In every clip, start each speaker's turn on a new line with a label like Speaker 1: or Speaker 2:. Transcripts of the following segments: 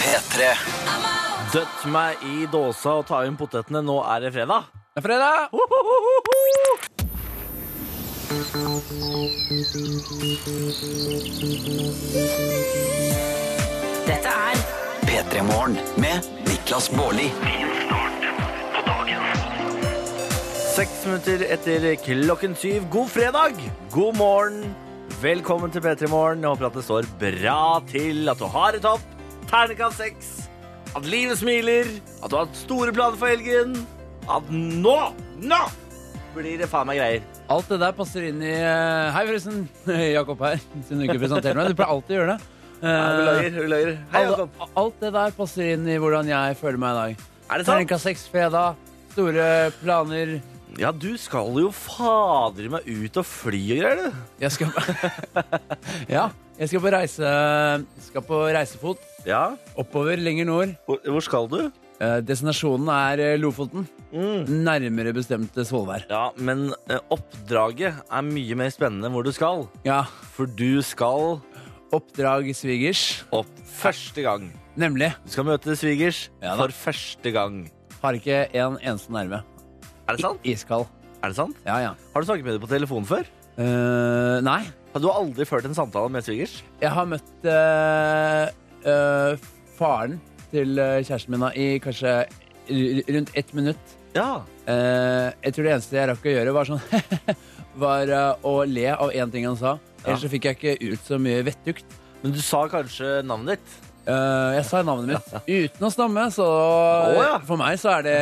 Speaker 1: P3.
Speaker 2: Døtt meg i dåsa og ta inn potetene. Nå er det fredag.
Speaker 3: Det er fredag!
Speaker 4: Dette er
Speaker 1: P3 Morgen med Niklas Baarli.
Speaker 2: Seks minutter etter klokken syv. God fredag! God morgen. Velkommen til P3 Morgen. Jeg håper at det står bra til, at du har det topp. Ternekast seks. At livet smiler. At du har hatt store planer for helgen. At nå, nå blir det faen meg greier.
Speaker 3: Alt det der passer inn i eh, Hei, forresten. Jakob her. Siden du ikke presenterer meg. Du pleier alltid å gjøre det.
Speaker 2: Ja,
Speaker 3: Eh,
Speaker 2: Beklager. beklager. Hei,
Speaker 3: alle-
Speaker 2: Jakob.
Speaker 3: alt det der passer inn i hvordan jeg føler meg i dag.
Speaker 2: Er det sant?
Speaker 3: Terningkast seks fredag. Store planer.
Speaker 2: Ja, du skal jo fader meg ut og fly og greier, du.
Speaker 3: Jeg skal Ja. Jeg skal på reise Skal på reisefot.
Speaker 2: Ja.
Speaker 3: Oppover, lenger nord.
Speaker 2: Hvor, hvor skal du?
Speaker 3: Eh, Destinasjonen er eh, Lofoten.
Speaker 2: Mm.
Speaker 3: Nærmere bestemt eh, Svolvær.
Speaker 2: Ja, men eh, oppdraget er mye mer spennende enn hvor du skal.
Speaker 3: Ja.
Speaker 2: For du skal
Speaker 3: Oppdrag svigers.
Speaker 2: opp første gang.
Speaker 3: Nemlig.
Speaker 2: Du skal møte svigers
Speaker 3: Ja da.
Speaker 2: for første gang.
Speaker 3: Har ikke en eneste nerve.
Speaker 2: Er det sant?
Speaker 3: Iskald.
Speaker 2: Er det sant?
Speaker 3: Ja, ja.
Speaker 2: Har du snakket med dem på telefon før?
Speaker 3: Eh, nei.
Speaker 2: Har du aldri ført en samtale med svigers?
Speaker 3: Jeg har møtt eh, eh, faren til eh, kjæresten min da, i kanskje r- rundt ett minutt.
Speaker 2: Ja.
Speaker 3: Eh, jeg tror det eneste jeg rakk å gjøre, var, sånn, var eh, å le av én ting han sa. Ellers så fikk jeg ikke ut så mye vettugt.
Speaker 2: Men du sa kanskje navnet ditt?
Speaker 3: Eh, jeg sa navnet mitt uten å stamme, så
Speaker 2: ja.
Speaker 3: for meg så er det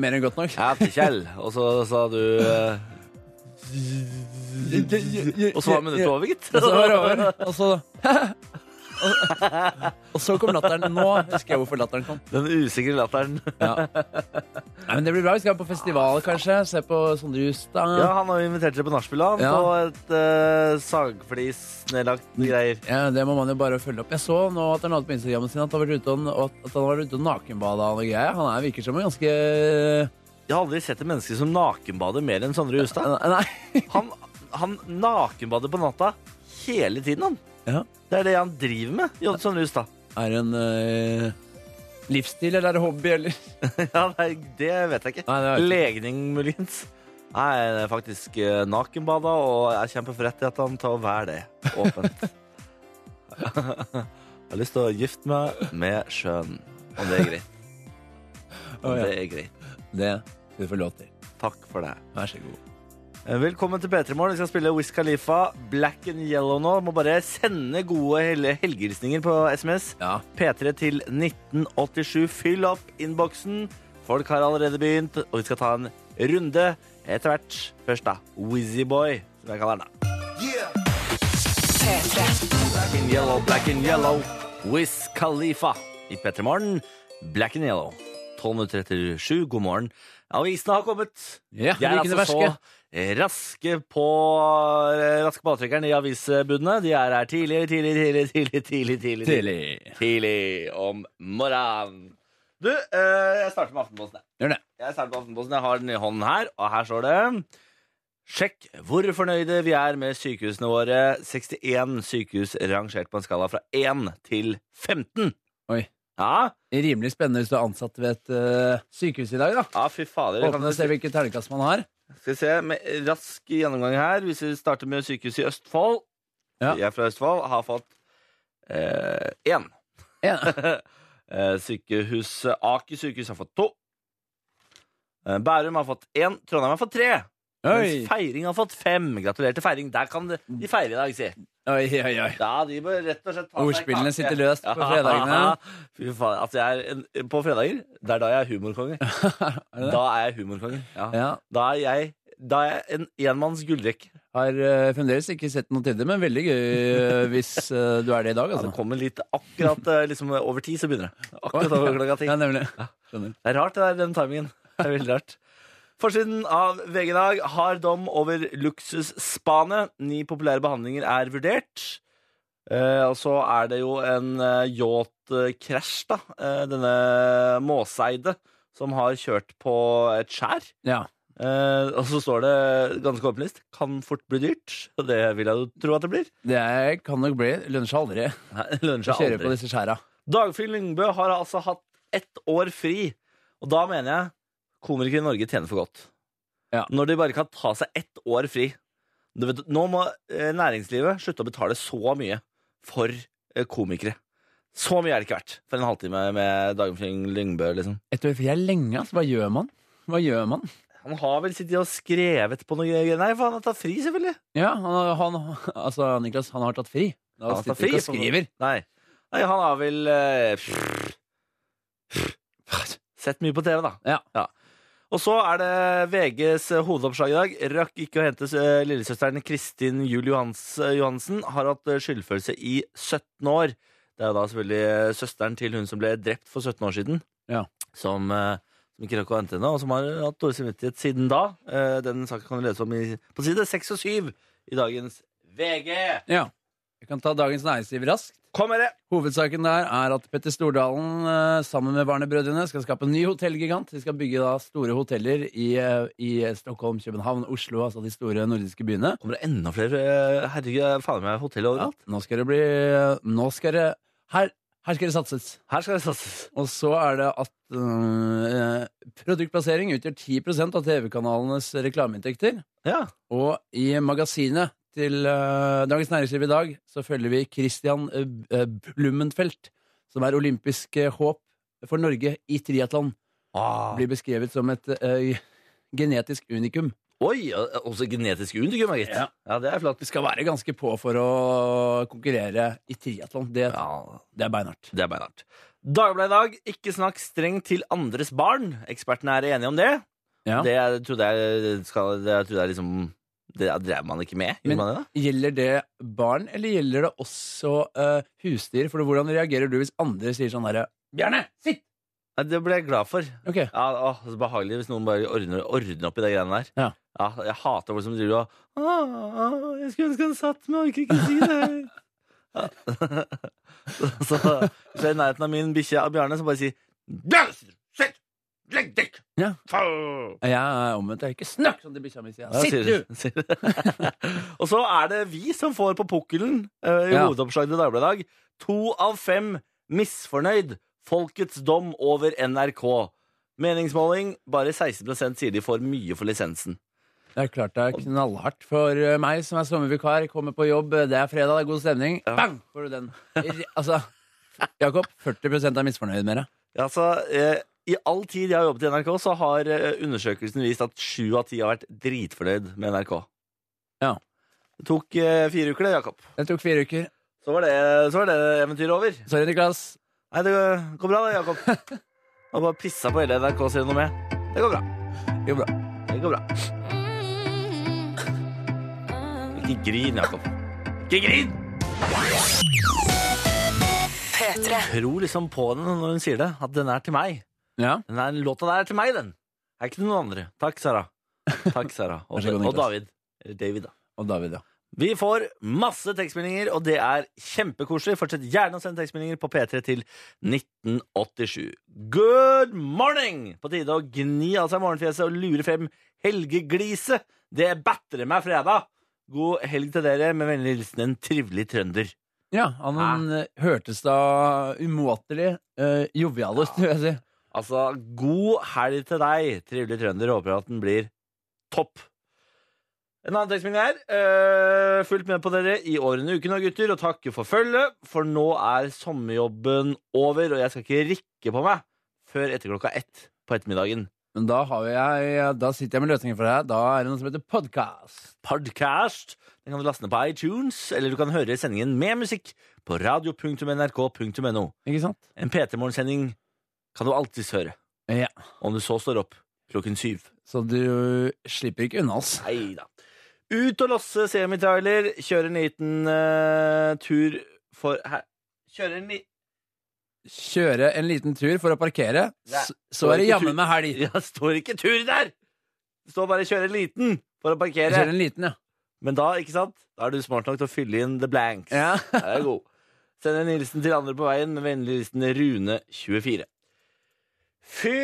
Speaker 3: mer enn godt nok.
Speaker 2: Jeg heter Kjell. Og så sa du eh, Og så var minuttet over, gitt.
Speaker 3: Og så var det over. Og så og- Og så kom latteren. Nå husker jeg hvorfor latteren kom.
Speaker 2: Den usikre latteren.
Speaker 3: Ja. Nei, men Det blir bra. Vi skal på festival, kanskje. Se på Sondre Justad.
Speaker 2: Ja,
Speaker 3: Ja.
Speaker 2: han har jo invitert seg på nachspiel, han.
Speaker 3: Ja.
Speaker 2: På et eh, sagflis-nedlagt greier.
Speaker 3: det må man jo bare følge opp. Jeg så nå at han hadde på Instagramen sin at han var ute og, og at han var ute og nakenbada og greier. Han er, virker som en ganske
Speaker 2: Jeg har aldri sett et menneske som nakenbader mer enn Sondre Justad.
Speaker 3: Nei.
Speaker 2: Han, han nakenbader på natta hele tiden, han.
Speaker 3: Ja.
Speaker 2: Det er det han driver med, Jon Sondre Justad.
Speaker 3: Er det en eh, livsstil eller er det hobby, eller?
Speaker 2: Ja, nei, det vet jeg ikke.
Speaker 3: Nei, det vet jeg ikke.
Speaker 2: Legning, muligens. Nei, det er faktisk eh, nakenbada, og jeg kjemper for rett i at han tar hver det åpent. jeg har lyst til å gifte meg med sjøen, om det er greit. Om
Speaker 3: Å, ja.
Speaker 2: det er greit.
Speaker 3: Det skal du få lov til.
Speaker 2: Takk for det.
Speaker 3: Vær så god.
Speaker 2: Eh, Velkommen til P3 Morgen. Vi skal spille Wiz Khalifa, Black and Yellow nå. Må bare sende gode hel helgehilsninger på SMS.
Speaker 3: Ja.
Speaker 2: P3 til 1987. Fyll opp innboksen. Folk har allerede begynt, og vi skal ta en runde etter hvert. Først da Wizzyboy, som jeg kaller den. da. Black and yellow, black and yellow. Wiz Khalifa i P3 Morgen. Black and yellow. 12 minutter etter sju. God morgen. Avisene har kommet.
Speaker 3: Ja,
Speaker 2: De er
Speaker 3: hvilken
Speaker 2: altså
Speaker 3: verske?
Speaker 2: så raske på eh, raske på avtrekkeren i avisbudene. De er her tidlig, tidlig, tidlig, tidlig, tidlig, tidlig, tidlig,
Speaker 3: Tidlig.
Speaker 2: tidlig om morgenen. Du, eh, jeg starter med Aftenposten. jeg.
Speaker 3: Gjør det.
Speaker 2: Jeg starter med Aftenposten. Jeg har den i hånden her, og her står det Sjekk hvor fornøyde vi er med sykehusene våre. 61 sykehus rangert på en skala fra 1 til 15.
Speaker 3: Oi.
Speaker 2: Ja,
Speaker 3: Rimelig spennende hvis du er ansatt ved et eh, sykehus i dag, da.
Speaker 2: ja fy fader. det kan
Speaker 3: Åpne og se hvilket terningkast man har.
Speaker 2: Skal vi se, med rask gjennomgang her Hvis vi starter med sykehuset i Østfold
Speaker 3: Ja.
Speaker 2: Jeg er fra Østfold, har fått eh, En
Speaker 3: Ja.
Speaker 2: eh, Sykehuset Aker sykehus har fått to eh, Bærum har fått en Trondheim har fått tre
Speaker 3: Oi.
Speaker 2: Mens Feiring har fått fem Gratulerer til Feiring Der kan de- de feire i dag, si
Speaker 3: oi, oi, oi.
Speaker 2: Ja, de bør rett og slett ta seg
Speaker 3: Ordspillene
Speaker 2: kake.
Speaker 3: sitter løst på fredagene.
Speaker 2: Fy faen, altså jeg er en, På fredager, det er da jeg er humorkonge Da er jeg humorkonge ja.
Speaker 3: Ja.
Speaker 2: Da er jeg, da er jeg en enmanns gullrekke.
Speaker 3: Har eh, fremdeles ikke sett noe til det, men veldig gøy eh, hvis eh, du er det i dag,
Speaker 2: Ja, det
Speaker 3: altså.
Speaker 2: kommer litt akkurat eh, liksom, over ti, så begynner det. Akkurat over klokka ti.
Speaker 3: Ja, nemlig. Skjønner.
Speaker 2: Det er rart, det der, den timingen. Det er veldig rart. Forsiden av VG i dag har dom over luksusspanet. Ni populære behandlinger er vurdert. Eh, og så er det jo en eh, yacht-krasj, da. Eh, denne Måseide som har kjørt på et skjær.
Speaker 3: Ja.
Speaker 2: Eh, og så står det ganske åpenlyst kan fort bli dyrt. Og det vil jeg jo tro at det blir.
Speaker 3: Det er, kan nok bli. Lønner seg aldri
Speaker 2: Nei, det lønner
Speaker 3: å
Speaker 2: seg
Speaker 3: kjøre
Speaker 2: aldri.
Speaker 3: på disse skjæra.
Speaker 2: Dagfinn Lyngbø har altså hatt ett år fri. Og da mener jeg komikere i Norge tjener for godt.
Speaker 3: Ja.
Speaker 2: Når de bare kan ta seg ett år fri. Du vet, nå må eh, næringslivet slutte å betale så mye for eh, komikere. Så mye er det ikke verdt for en halvtime med Dagfinn Lyngbø, liksom.
Speaker 3: Et år fri er lenge, altså. Hva gjør man? Hva gjør man?
Speaker 2: Han har vel sittet og skrevet på noe greier. Nei, for han har tatt fri, selvfølgelig.
Speaker 3: Ja, han, han, altså, Niklas, han har tatt fri. Da
Speaker 2: Han har tatt
Speaker 3: sitter du
Speaker 2: fri
Speaker 3: ikke og
Speaker 2: på-
Speaker 3: skriver.
Speaker 2: Nei, Nei han har vel eh, pff, pff, Sett mye på TV, da.
Speaker 3: Ja.
Speaker 2: Og så er det VGs hovedoppslag i dag. Rakk ikke å hente eh, lillesøsteren Kristin Juel Johans, Johansen. Har hatt eh, skyldfølelse i 17 år. Det er jo da selvfølgelig eh, søsteren til hun som ble drept for 17 år siden.
Speaker 3: Ja.
Speaker 2: Som, eh, som ikke rakk å hente henne, og som har hatt dårlig samvittighet siden da. Eh, Den saken kan du lese om i, på side 6 og 7 i dagens VG.
Speaker 3: Ja. Vi kan ta Dagens Næringsliv raskt.
Speaker 2: Kom med det!
Speaker 3: Hovedsaken der er at Petter Stordalen eh, sammen med Barnebrødrene skal skape en ny hotellgigant. De skal bygge da store hoteller i, eh, i Stockholm, København, Oslo, altså de store nordiske byene.
Speaker 2: Kommer det enda flere eh, herregud, faen meg hotell
Speaker 3: Ja,
Speaker 2: overalt?
Speaker 3: nå skal det bli Nå skal det Her, her skal det satses.
Speaker 2: Her skal det satses.
Speaker 3: Og så er det at eh, produktplassering utgjør 10 av TV-kanalenes reklameinntekter.
Speaker 2: Ja.
Speaker 3: Og i magasinet til eh, Dagens Næringsliv i dag så følger vi Christian eh, B- eh, Blumenfelt, som er olympisk eh, håp for Norge i triatlon.
Speaker 2: Ah.
Speaker 3: Blir beskrevet som et eh, genetisk unikum.
Speaker 2: Oi, også genetisk unikum, gitt.
Speaker 3: Ja.
Speaker 2: Ja. det er flott.
Speaker 3: Du skal være ganske på for å konkurrere i triatlon. Det, det er beinhardt.
Speaker 2: Det er beinhardt. Dagbladet i dag, ikke snakk strengt til andres barn. Ekspertene er enige om det.
Speaker 3: Ja.
Speaker 2: Det jeg trodde jeg skal, det jeg trodde jeg liksom Det drev man ikke med.
Speaker 3: Men-
Speaker 2: Gjorde man det? da?
Speaker 3: Gjelder det barn, eller gjelder det også eh, husdyr? For hvordan reagerer du hvis andre sier sånn derre Bjørne, sitt!
Speaker 2: Nei, Det ble jeg glad for.
Speaker 3: Ok.
Speaker 2: Ja, å, så Behagelig hvis noen bare ordner, ordner opp i de greiene der.
Speaker 3: Ja.
Speaker 2: Jeg hater folk som driver og «Åh, åh, Jeg skulle ønske han satt, men jeg orker ikke si det. Ja. så hvis jeg er i nærheten av min bikkje Bjarne, så bare si «Døs! Sitt! Legg dekk!
Speaker 3: Ja.
Speaker 2: Faen!»
Speaker 3: Jeg er omvendt. Jeg er ikke snakk som til bikkja mi, sier
Speaker 2: Ja,
Speaker 3: jeg. Sitt,
Speaker 2: sier-
Speaker 3: du!
Speaker 2: sier det. og så er det vi som får på pukkelen eh, i
Speaker 3: Ja.
Speaker 2: hovedoppslaget i Dagbladet i dag. To av fem misfornøyd. Folkets dom over NRK. Meningsmåling bare 16 sier de får mye for lisensen.
Speaker 3: Det er klart det er knallhardt for eh, meg som er sommervikar, kommer på jobb, eh, det er fredag, det er god stemning.
Speaker 2: Ja.
Speaker 3: Bang! Får du den. I- Altså, Jakob, 40 er misfornøyd med deg.
Speaker 2: Ja, altså, eh, I all tid jeg har jobbet i NRK, så har eh, undersøkelsen vist at sju av ti har vært dritfornøyd med NRK.
Speaker 3: Ja.
Speaker 2: Det tok eh, fire uker, det, Jakob.
Speaker 3: Det tok fire uker.
Speaker 2: Så var det, så var det eventyret over.
Speaker 3: Sorry, Niklas.
Speaker 2: Nei, det går bra, det, Jakob. Han bare pissa på hele NRKs renommé. Det går bra.
Speaker 3: Jo, bra.
Speaker 2: Det går bra. Ikke grin, Jakob. Ikke grin!
Speaker 4: P3.
Speaker 2: Tror liksom på den når hun sier det, at den er til meg.
Speaker 3: Ja.
Speaker 2: Den er, låta der er til meg, den. Er ikke til noen andre. Takk, Sara. Takk, Sara. Og,
Speaker 3: Vær så god,
Speaker 2: og
Speaker 3: Niklas.
Speaker 2: David. Eller David, da.
Speaker 3: Og David, ja.
Speaker 2: Vi får masse tekstmeldinger, og det er kjempekoselig. Fortsett gjerne å sende tekstmeldinger på P3 til 1987. Good morning! På tide å gni av seg morgenfjeset og lure frem helgegliset. Det batterer meg fredag. God helg til dere, med vennlig hilsen en trivelig trønder.
Speaker 3: Ja, han eh, hørtes da umåtelig uh, jovial ut, vil jeg si.
Speaker 2: Altså, god helg til deg, trivelig trønder. Håper at den blir topp. En annen tekstmelding her. Uh, fulgt med på dere i årene og ukene, gutter, og takke for følget. For nå er sommerjobben over, og jeg skal ikke rikke på meg før etter klokka ett på ettermiddagen.
Speaker 3: Men da, har jeg, eh, da sitter jeg med løsningen for deg. Da er det noe som heter podkast.
Speaker 2: Podcast. Den kan du laste ned på iTunes, eller du kan høre sendingen med musikk på radio.nrk.no.
Speaker 3: Ikke sant?
Speaker 2: En PT-morgensending kan du alltids høre,
Speaker 3: Ja.
Speaker 2: om du så står opp klokken syv.
Speaker 3: Så du slipper ikke unna altså. oss.
Speaker 2: Nei da. Ut og losse semitrailer, kjøre en liten eh, tur for her. Kjøre en liten
Speaker 3: Kjøre en liten tur for å parkere,
Speaker 2: Nei.
Speaker 3: s- så er det jammen meg helg.
Speaker 2: Ja, det står ikke tur der! Det står bare 'kjøre en liten' for å parkere.
Speaker 3: Kjøre en liten, ja.
Speaker 2: Men da, ikke sant? Da er du smart nok til å fylle inn the blanks.
Speaker 3: ja.
Speaker 2: Det er god. Send en hilsen til andre på veien med vennlig hilsen Rune24. Fy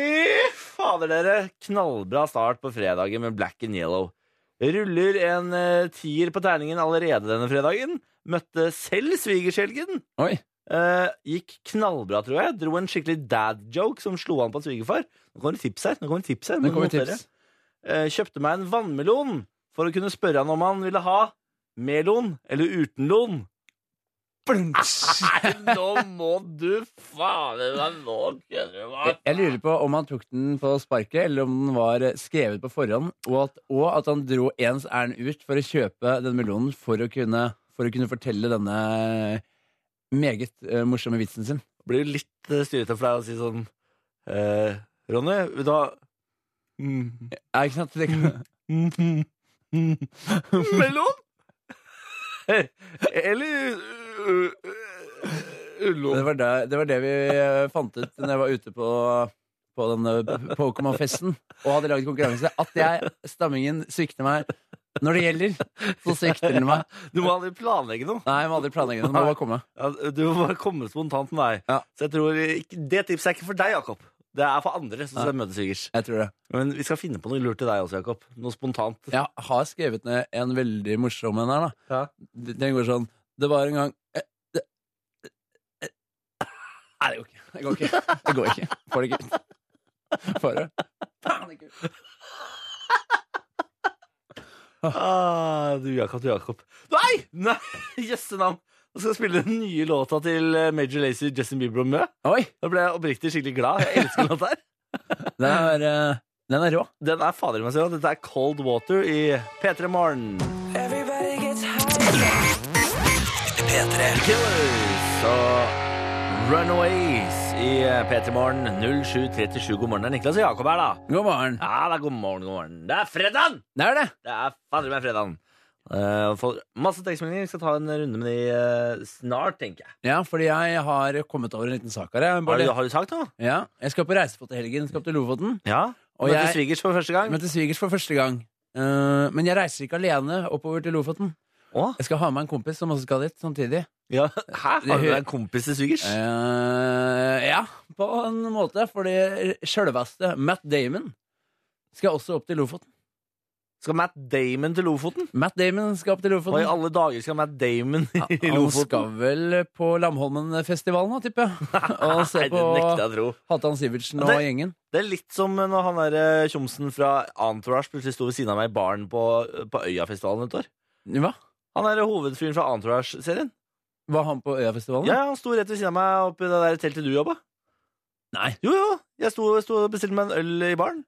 Speaker 2: fader, dere! Knallbra start på fredagen med black and yellow. Ruller en eh, tier på terningen allerede denne fredagen. Møtte selv svigerskjelgen.
Speaker 3: Oi.
Speaker 2: Eh, gikk knallbra, tror jeg. Dro en skikkelig dad-joke som slo an på svigerfar. Nå kommer det tips her. Nå kommer det tips her.
Speaker 3: Nå
Speaker 2: må
Speaker 3: kommer
Speaker 2: notere.
Speaker 3: tips.
Speaker 2: Eh, kjøpte meg en vannmelon for å kunne spørre han om han ville ha melon eller uten lon. Nei, nå må du faen meg Nå kødder du
Speaker 3: Jeg- Jeg lurer på om han tok den på sparket, eller om den var eh, skrevet på forhånd, og at, og at han dro ens ærend ut for å kjøpe den melonen for å kunne, for å kunne fortelle denne meget eh, morsomme vitsen sin.
Speaker 2: Blir jo litt eh, styrete for deg å si sånn eh, Ronny, vil du ha
Speaker 3: Ja, ikke sant? Det kan...
Speaker 2: Melon? eller uh,
Speaker 3: Det var det, det var det vi eh, fant ut når jeg var ute på, på denne Pokémon-festen og hadde laget konkurranse. At jeg, stammingen svikter meg når det gjelder. Så svikter den meg.
Speaker 2: Du må aldri planlegge noe.
Speaker 3: Nei, jeg må aldri planlegge det. Den må bare komme.
Speaker 2: Ja, du må bare komme spontant med deg.
Speaker 3: Ja.
Speaker 2: Så jeg tror ikke, Det tipset er ikke for deg, Jakob. Det er for andre. som
Speaker 3: Ja.
Speaker 2: skal møtesvigers.
Speaker 3: Jeg tror det.
Speaker 2: Men vi skal finne på noe lurt til deg også, Jakob. Noe spontant.
Speaker 3: Jeg har skrevet ned en veldig morsom en her, da. Den går sånn Det var en gang eh, det- eh, Nei, det går ikke. Det går ikke. Det går ikke. Får det ikke ut. Får det. Faen, det går ikke ut.
Speaker 2: Ah, du, Jakob, du, Jakob. Nei! Nei, Jøsse navn. Nå skal jeg spille den nye låta til eh, Major Lazy Justin Bieber og Mø.
Speaker 3: Oi!
Speaker 2: Da ble jeg oppriktig skikkelig glad. Jeg elsker den låta her.
Speaker 3: Den er, eh, den er rå.
Speaker 2: Den er fader i meg selv. Dette er Cold Water i P3 Morgen.
Speaker 1: P3.
Speaker 2: Killers og Runaways i P3 Morgen 07.37. God morgen. Det er Niklas og Jakob her, da.
Speaker 3: God morgen.
Speaker 2: Ja, det er god morgen, god morgen. Det er fredag!
Speaker 3: Det er det.
Speaker 2: Det er fader meg fredag. Uh, for masse tekstmeldinger. Vi skal ta en runde med de eh, snart, tenker jeg.
Speaker 3: Ja, fordi jeg har kommet over en liten sak her. Jeg,
Speaker 2: Har
Speaker 3: bare,
Speaker 2: du, har du sagt noe?
Speaker 3: ja, jeg skal på reisefot i helgen. Skal opp til Lofoten.
Speaker 2: Ja.
Speaker 3: Og
Speaker 2: Og Møtte
Speaker 3: jeg-
Speaker 2: svigers for første gang.
Speaker 3: Møtte svigers for første gang. Eh, men jeg reiser ikke alene oppover til Lofoten.
Speaker 2: Å?
Speaker 3: Jeg skal ha med en kompis som også skal dit samtidig.
Speaker 2: Ja. Hæ? Har du
Speaker 3: hø-
Speaker 2: en kompis til svigers?
Speaker 3: Eh, ja, på en måte. Fordi sjølveste Matt Damon skal også opp til Lofoten.
Speaker 2: Skal Matt Damon til Lofoten?
Speaker 3: Matt Damon skal opp til
Speaker 2: Hva i
Speaker 3: Lofoten.
Speaker 2: alle dager skal Matt Damon i
Speaker 3: Han
Speaker 2: Lofoten?
Speaker 3: skal vel på Lamholmenfestivalen nå, tipper jeg. Og se
Speaker 2: Nei, det
Speaker 3: på
Speaker 2: nekter jeg å tro.
Speaker 3: Halvdan Sivertsen
Speaker 2: Ja,
Speaker 3: og
Speaker 2: det-
Speaker 3: gjengen.
Speaker 2: Det er litt som når han der eh, tjomsen fra Entourage plutselig sto ved siden av meg i baren på, på Øyafestivalen et år.
Speaker 3: Hva?
Speaker 2: Han er hovedfyren fra Entourage-serien.
Speaker 3: Var han på Øyafestivalen?
Speaker 2: Ja, han sto rett ved siden av meg oppi det der teltet du jobba.
Speaker 3: Nei.
Speaker 2: Jo, jo. Jeg sto, sto og bestilte meg en øl i baren.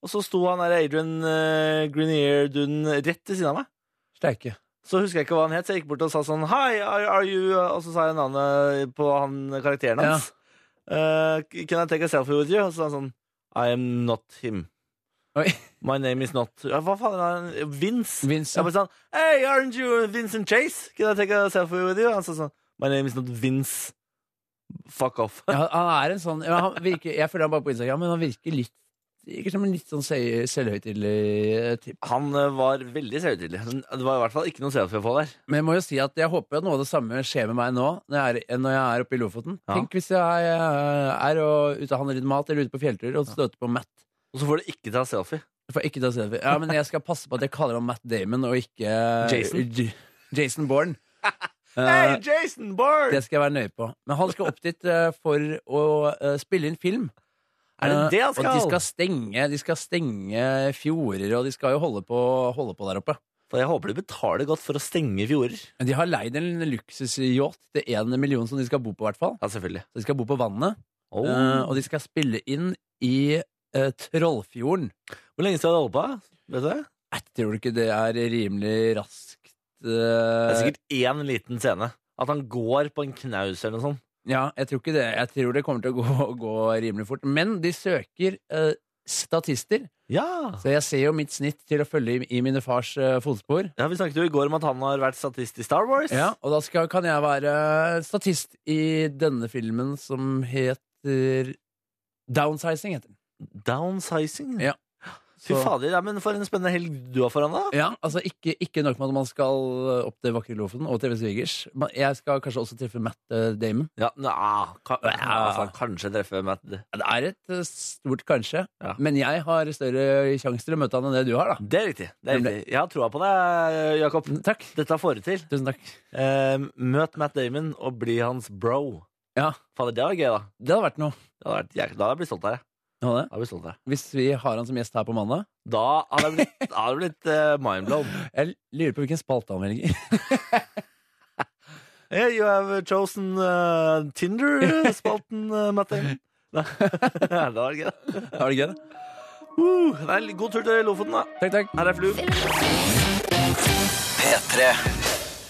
Speaker 2: Og så sto han der Adrian uh, Grenier-duden rett ved siden av meg.
Speaker 3: Steike.
Speaker 2: Så husker jeg ikke hva han het, så jeg gikk bort og sa sånn Hi, are, are you Og så sa jeg navnet på han karakteren hans. Eh, can I take a selfie with you? Og så sa han sånn I am not him.
Speaker 3: Oi.
Speaker 2: My name is not ja, Hva faen er han? Vince?
Speaker 3: Vince,
Speaker 2: Jeg
Speaker 3: ja.
Speaker 2: bare sånn Hey, aren't you Vincent Chase? Can I take a selfie with you? Han sa sånn My name is not Vince. Fuck off.
Speaker 3: Ja, han er en sånn ja, han virker, Jeg følger han bare på Instagram, men han virker litt Virker som en litt sånn se- selvhøytidelig type.
Speaker 2: Han eh, var veldig selvhøytidelig. Det var i hvert fall ikke noe selfie på der.
Speaker 3: Men jeg må jo si at jeg håper at noe av det samme skjer med meg nå når jeg er, når jeg er oppe i Lofoten.
Speaker 2: Ja.
Speaker 3: Tenk hvis jeg eh, er og, ute og handler litt mat eller ute på fjelltur og støter på Matt.
Speaker 2: Og så får du ikke ta selfie.
Speaker 3: For ikke ta selfie. Ja, men jeg skal passe på at jeg kaller han Matt Damon og ikke eh,
Speaker 2: Jason.
Speaker 3: J Jason Bourne.
Speaker 2: Hey,
Speaker 3: Eh,
Speaker 2: Jason Bourne!
Speaker 3: det skal jeg være nøye på. Men han skal opp dit eh, for å eh, spille inn film.
Speaker 2: Er det det han
Speaker 3: Eh, Og de
Speaker 2: skal?
Speaker 3: skal stenge, de skal stenge fjorder, og de skal jo holde på, holde på der oppe.
Speaker 2: For jeg håper de betaler godt for å stenge fjorder.
Speaker 3: Men De har leid en luksusyacht til én million som de skal bo på, i hvert fall.
Speaker 2: Ja, selvfølgelig.
Speaker 3: Så de skal bo på vannet,
Speaker 2: Oh.
Speaker 3: eh, og de skal spille inn i eh, Trollfjorden.
Speaker 2: Hvor lenge skal de holde på? Vet du det?
Speaker 3: Jeg tror du ikke det er rimelig raskt eh,
Speaker 2: Det er sikkert én liten scene. At han går på en knaus eller noe sånt.
Speaker 3: Ja, jeg tror ikke det. Jeg tror det kommer til å gå, gå rimelig fort. Men de søker eh, statister,
Speaker 2: Ja.
Speaker 3: så jeg ser jo mitt snitt til å følge i, i mine fars eh, fotspor.
Speaker 2: ja, Vi snakket jo i går om at han har vært statist i Star Wars.
Speaker 3: Ja, og da skal, kan jeg være statist i denne filmen som heter Downsizing, heter den.
Speaker 2: Downsizing.
Speaker 3: Ja.
Speaker 2: Fy
Speaker 3: Så-
Speaker 2: fader, ja, men for en spennende helg du har foran deg. da.
Speaker 3: Ja, altså ikke, ikke nok med at man skal opp til vakre Lofoten og TV Svigers. Men Jeg skal kanskje også treffe Matt eh, Damon.
Speaker 2: Ja, nå, ah, ka, altså, kanskje treffe Matt.
Speaker 3: Ja, Det er et eh, stort kanskje,
Speaker 2: Ja.
Speaker 3: men jeg har større sjanse til å møte han enn det du har, da. Mm,
Speaker 2: Det er riktig. det er riktig Jeg har troa på deg, Jakob.
Speaker 3: Takk.
Speaker 2: Dette får du til.
Speaker 3: Tusen takk.
Speaker 2: Eh, møt Matt Damon og bli hans bro.
Speaker 3: Ja,
Speaker 2: Fader, det hadde vært gøy, da.
Speaker 3: det hadde vært noe.
Speaker 2: Det hadde vært, jæk- da hadde jeg blitt stolt av deg.
Speaker 3: Ja, det.
Speaker 2: Da hadde jeg blitt stolt av deg.
Speaker 3: Hvis vi har han som gjest her på mandag
Speaker 2: Da hadde jeg blitt, da hadde jeg blitt eh, mindblown.
Speaker 3: Jeg lurer på hvilken spalte han velger.
Speaker 2: Hey, you have chosen eh, Tinder-spalten, uh, Matt Damon. Nei, det hadde vært gøy. da.
Speaker 3: Har du ikke det?
Speaker 2: Uh, nei, god tur til Lofoten, da.
Speaker 3: Takk, takk.
Speaker 2: Her er Flum.
Speaker 1: P3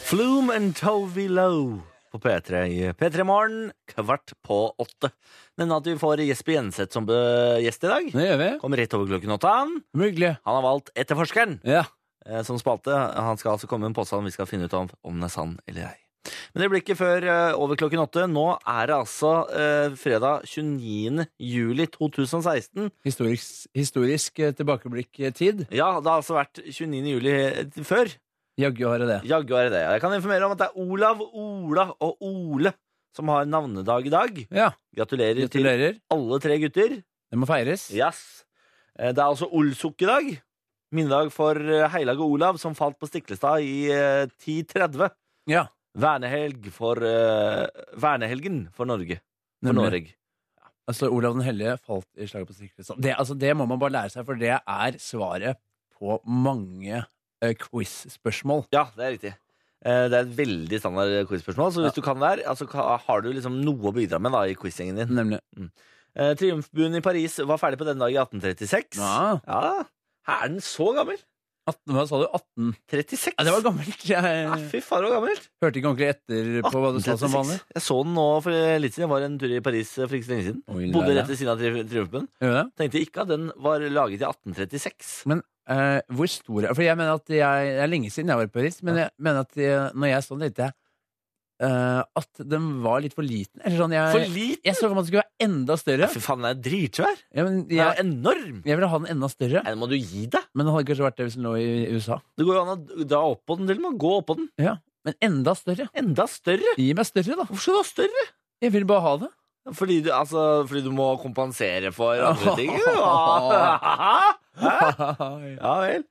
Speaker 2: Flume and Tovi Low på P3 i P3 Morgen kvart på åtte. Nevne at vi får Jesper Jenseth som eh, gjest i dag.
Speaker 3: Det gjør vi.
Speaker 2: Kommer rett over klokken åtte. Han
Speaker 3: Mugle.
Speaker 2: Han har valgt Etterforskeren
Speaker 3: Ja.
Speaker 2: eh, som spalte. Han skal altså komme med en påstand vi skal finne ut om, om den er sann eller ei. Men det blir ikke før eh, over klokken åtte. Nå er det altså eh, fredag 29. juli 2016.
Speaker 3: Historisk, historisk eh, tilbakeblikk-tid.
Speaker 2: Ja, det har altså vært 29. juli eh, før.
Speaker 3: Jaggu har jeg det.
Speaker 2: Jaggu er det det. Jeg kan informere om at det er Olav, Ola og Ole som har navnedag i dag.
Speaker 3: Ja.
Speaker 2: Gratulerer, til
Speaker 3: Gratulerer.
Speaker 2: alle tre gutter.
Speaker 3: Det må feires.
Speaker 2: Yes. Eh, Det er altså Olsok i dag. Minnedag for eh, Heilag og Olav, som falt på Stiklestad i eh, 10.30.
Speaker 3: Ja.
Speaker 2: Vernehelg for eh, Vernehelgen for Norge. For
Speaker 3: Nemlig.
Speaker 2: Norge.
Speaker 3: Altså, Olav den hellige falt i slaget på Stiklestad. Det, altså, det må man bare lære seg, for det er svaret på mange eh, quiz-spørsmål.
Speaker 2: Ja, det er riktig. Eh, Det er et veldig standard quiz-spørsmål. Så hvis
Speaker 3: Ja.
Speaker 2: du kan der, altså, ka- har du liksom noe å bidra med da, i quiz-gjengen din?
Speaker 3: Nemlig.
Speaker 2: Eh, Triumfbuen i Paris var ferdig på denne dag i 1836.
Speaker 3: Ja.
Speaker 2: Ja, Her er den så gammel.
Speaker 3: 18, hva sa du? 18?
Speaker 2: 36.
Speaker 3: Ja, det var gammelt. Jeg
Speaker 2: Ja, fy faen, det var gammelt.
Speaker 3: hørte ikke ordentlig etter på hva du sa som vanlig.
Speaker 2: 1836. Jeg så den nå for litt siden. Jeg var en tur i Paris for ikke så lenge siden.
Speaker 3: Oi,
Speaker 2: Bodde
Speaker 3: lære.
Speaker 2: rett ved siden av tri Triumfbuen.
Speaker 3: Gjør det?
Speaker 2: Tenkte ikke at den var laget i 1836.
Speaker 3: Men eh, hvor stor er For jeg mener at jeg, det er lenge siden jeg var i Paris, men jeg mener at jeg, når jeg så den, tenkte jeg eh, at den var litt for liten. Eller sånn, jeg,
Speaker 2: For liten!
Speaker 3: jeg så for meg at den skulle være enda større.
Speaker 2: Fy faen, den er dritsvær!
Speaker 3: Ja, men
Speaker 2: Den er
Speaker 3: jeg,
Speaker 2: enorm!
Speaker 3: jeg ville ha den enda større,
Speaker 2: Nei, Den må du gi deg!
Speaker 3: men det hadde kanskje vært det hvis den lå i USA.
Speaker 2: Det går jo an å dra opp på den til og med. Gå opp på den.
Speaker 3: Ja, Men enda større.
Speaker 2: Enda større!
Speaker 3: Gi meg større, da.
Speaker 2: Hvorfor skal du ha større?
Speaker 3: Jeg vil bare ha det.
Speaker 2: Fordi du, altså, fordi du må kompensere for andre ting? Hæ? Ja vel.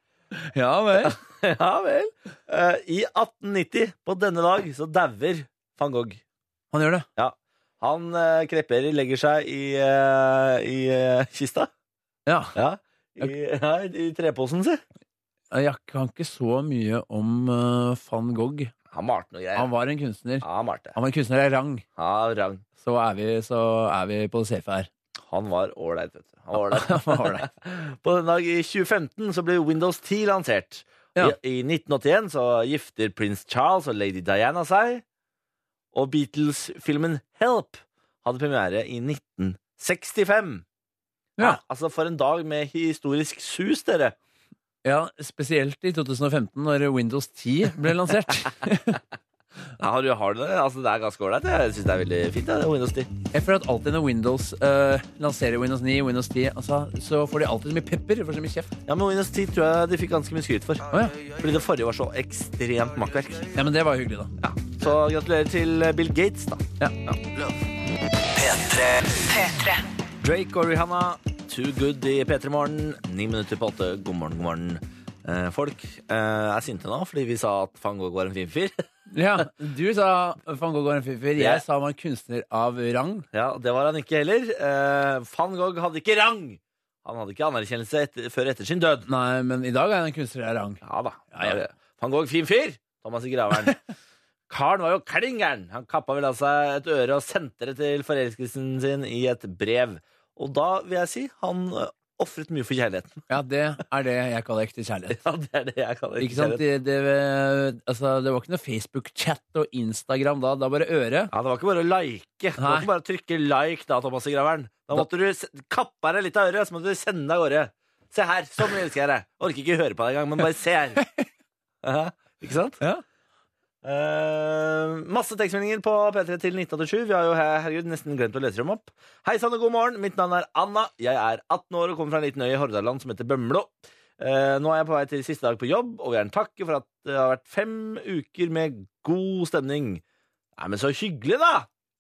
Speaker 3: ja vel.
Speaker 2: Ja vel. Eh, I 1890, på denne dag, så dauer van Gogh.
Speaker 3: Han gjør det.
Speaker 2: Han eh, kreperer, legger seg i, eh, i eh, kista.
Speaker 3: Ja.
Speaker 2: Ja. I, ja, I treposen, si.
Speaker 3: Jeg kan ikke så mye om eh, van Gogh.
Speaker 2: Han malte noe greier.
Speaker 3: Han var en kunstner.
Speaker 2: Ja, han malte.
Speaker 3: Han var en kunstner av rang.
Speaker 2: Ja, rang.
Speaker 3: Så er vi, så er vi på det safe her.
Speaker 2: Han var ålreit, vet du. Han var ålreit.
Speaker 3: Han var ålreit.
Speaker 2: På den dag i 2015 så ble Windows 10 lansert.
Speaker 3: Ja.
Speaker 2: I, I 1981 så gifter prins Charles og lady Diana seg. Og Beatles-filmen Help hadde premiere i 1965.
Speaker 3: Ja.
Speaker 2: altså for en dag med historisk sus, dere.
Speaker 3: Ja, Spesielt i 2015, når Windows 10 ble lansert.
Speaker 2: Ja, har, du, har du det? Altså, det er ganske ålreit. Jeg syns det er veldig fint. Ja, det er Windows 10.
Speaker 3: Jeg føler at alltid når Windows eh, lanserer Windows 9, Windows 10, altså, så får de alltid så mye pepper. For så mye kjeft.
Speaker 2: Ja, men Windows 10 tror jeg de fikk ganske mye skryt for.
Speaker 3: Å, ja.
Speaker 2: Fordi det forrige var så ekstremt makkverk.
Speaker 3: ja, men det var hyggelig, da.
Speaker 2: Ja. Så gratulerer til eh, Bill Gates, da.
Speaker 3: Ja.
Speaker 1: P3
Speaker 2: Drake og Rihanna, Too Good i P3 Morgen. Ni minutter på åtte. God morgen, god morgen. Eh, folk eh, er sinte nå fordi vi sa at van Gogh var en fin fyr.
Speaker 3: Ja, Du sa van Gogh var en fyr. Jeg
Speaker 2: Ja.
Speaker 3: sa han var en kunstner av rang.
Speaker 2: ja, det var han ikke heller. Eh, van Gogh hadde ikke rang! Han hadde ikke anerkjennelse etter, før etter sin død.
Speaker 3: Nei, men i dag er han en kunstner av rang.
Speaker 2: Ja da.
Speaker 3: Ja, ja.
Speaker 2: Van Gogh, fin fyr! Thomas i Graveren. Karen var jo klin gæren. Han kappa vel av seg et øre og sendte det til forelskelsen sin i et brev. Og da vil jeg si han eh, ofret mye for kjærligheten.
Speaker 3: Ja, det er det jeg kaller ekte kjærlighet.
Speaker 2: Ja, det er det jeg kaller
Speaker 3: Ikke sant? Det, det, altså, det var ikke noe Facebook-chat og Instagram da. Det var bare øre.
Speaker 2: Ja, Det var ikke bare å like. Det var
Speaker 3: Nei.
Speaker 2: ikke bare å trykke like da, Thomas i Graveren. Da måtte du s- kappe deg litt av øret, så måtte du sende deg av gårde. Se her, sånn elsker jeg deg. Orker ikke høre på deg engang, men bare se her. Ja, ikke sant?
Speaker 3: Ja.
Speaker 2: Eh, masse tekstmeldinger på P3 til 1987. Vi har jo her- herregud, nesten glemt å lese dem opp. Hei sann og god morgen. Mitt navn er Anna. Jeg er 18 år og kommer fra en liten øy i Hordaland som heter Bømlo. Eh, nå er jeg på vei til siste dag på jobb og vil gjerne takke for at det har vært fem uker med god stemning. Nei, men så hyggelig, da!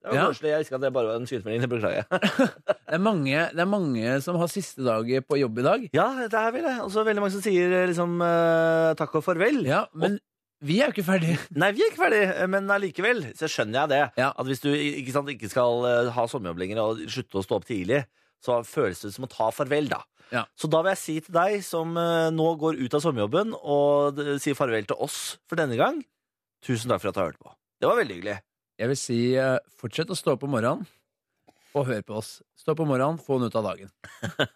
Speaker 2: Det var
Speaker 3: Ja.
Speaker 2: koselig. Jeg visste ikke at det bare var en skuemelding. Det beklager jeg.
Speaker 3: Det er, mange, det er mange som har siste dag på jobb i dag.
Speaker 2: ja, dette her vil jeg. Og så veldig mange som sier eh, liksom eh, takk og farvel.
Speaker 3: Ja, men vi er jo ikke ferdige.
Speaker 2: Nei, vi er ikke ferdig, eh, men allikevel så skjønner jeg det.
Speaker 3: Ja.
Speaker 2: At hvis du ikke, sant, ikke skal eh, ha sommerjobb lenger og slutte å stå opp tidlig, så føles det som å ta farvel, da.
Speaker 3: Ja.
Speaker 2: Så da vil jeg si til deg som eh, nå går ut av sommerjobben og d- sier farvel til oss for denne gang, tusen takk for at du har hørt på. Det var veldig hyggelig.
Speaker 3: Jeg vil si eh, fortsett å stå opp om morgenen og hør på oss. Stå opp om morgenen, få den ut av dagen.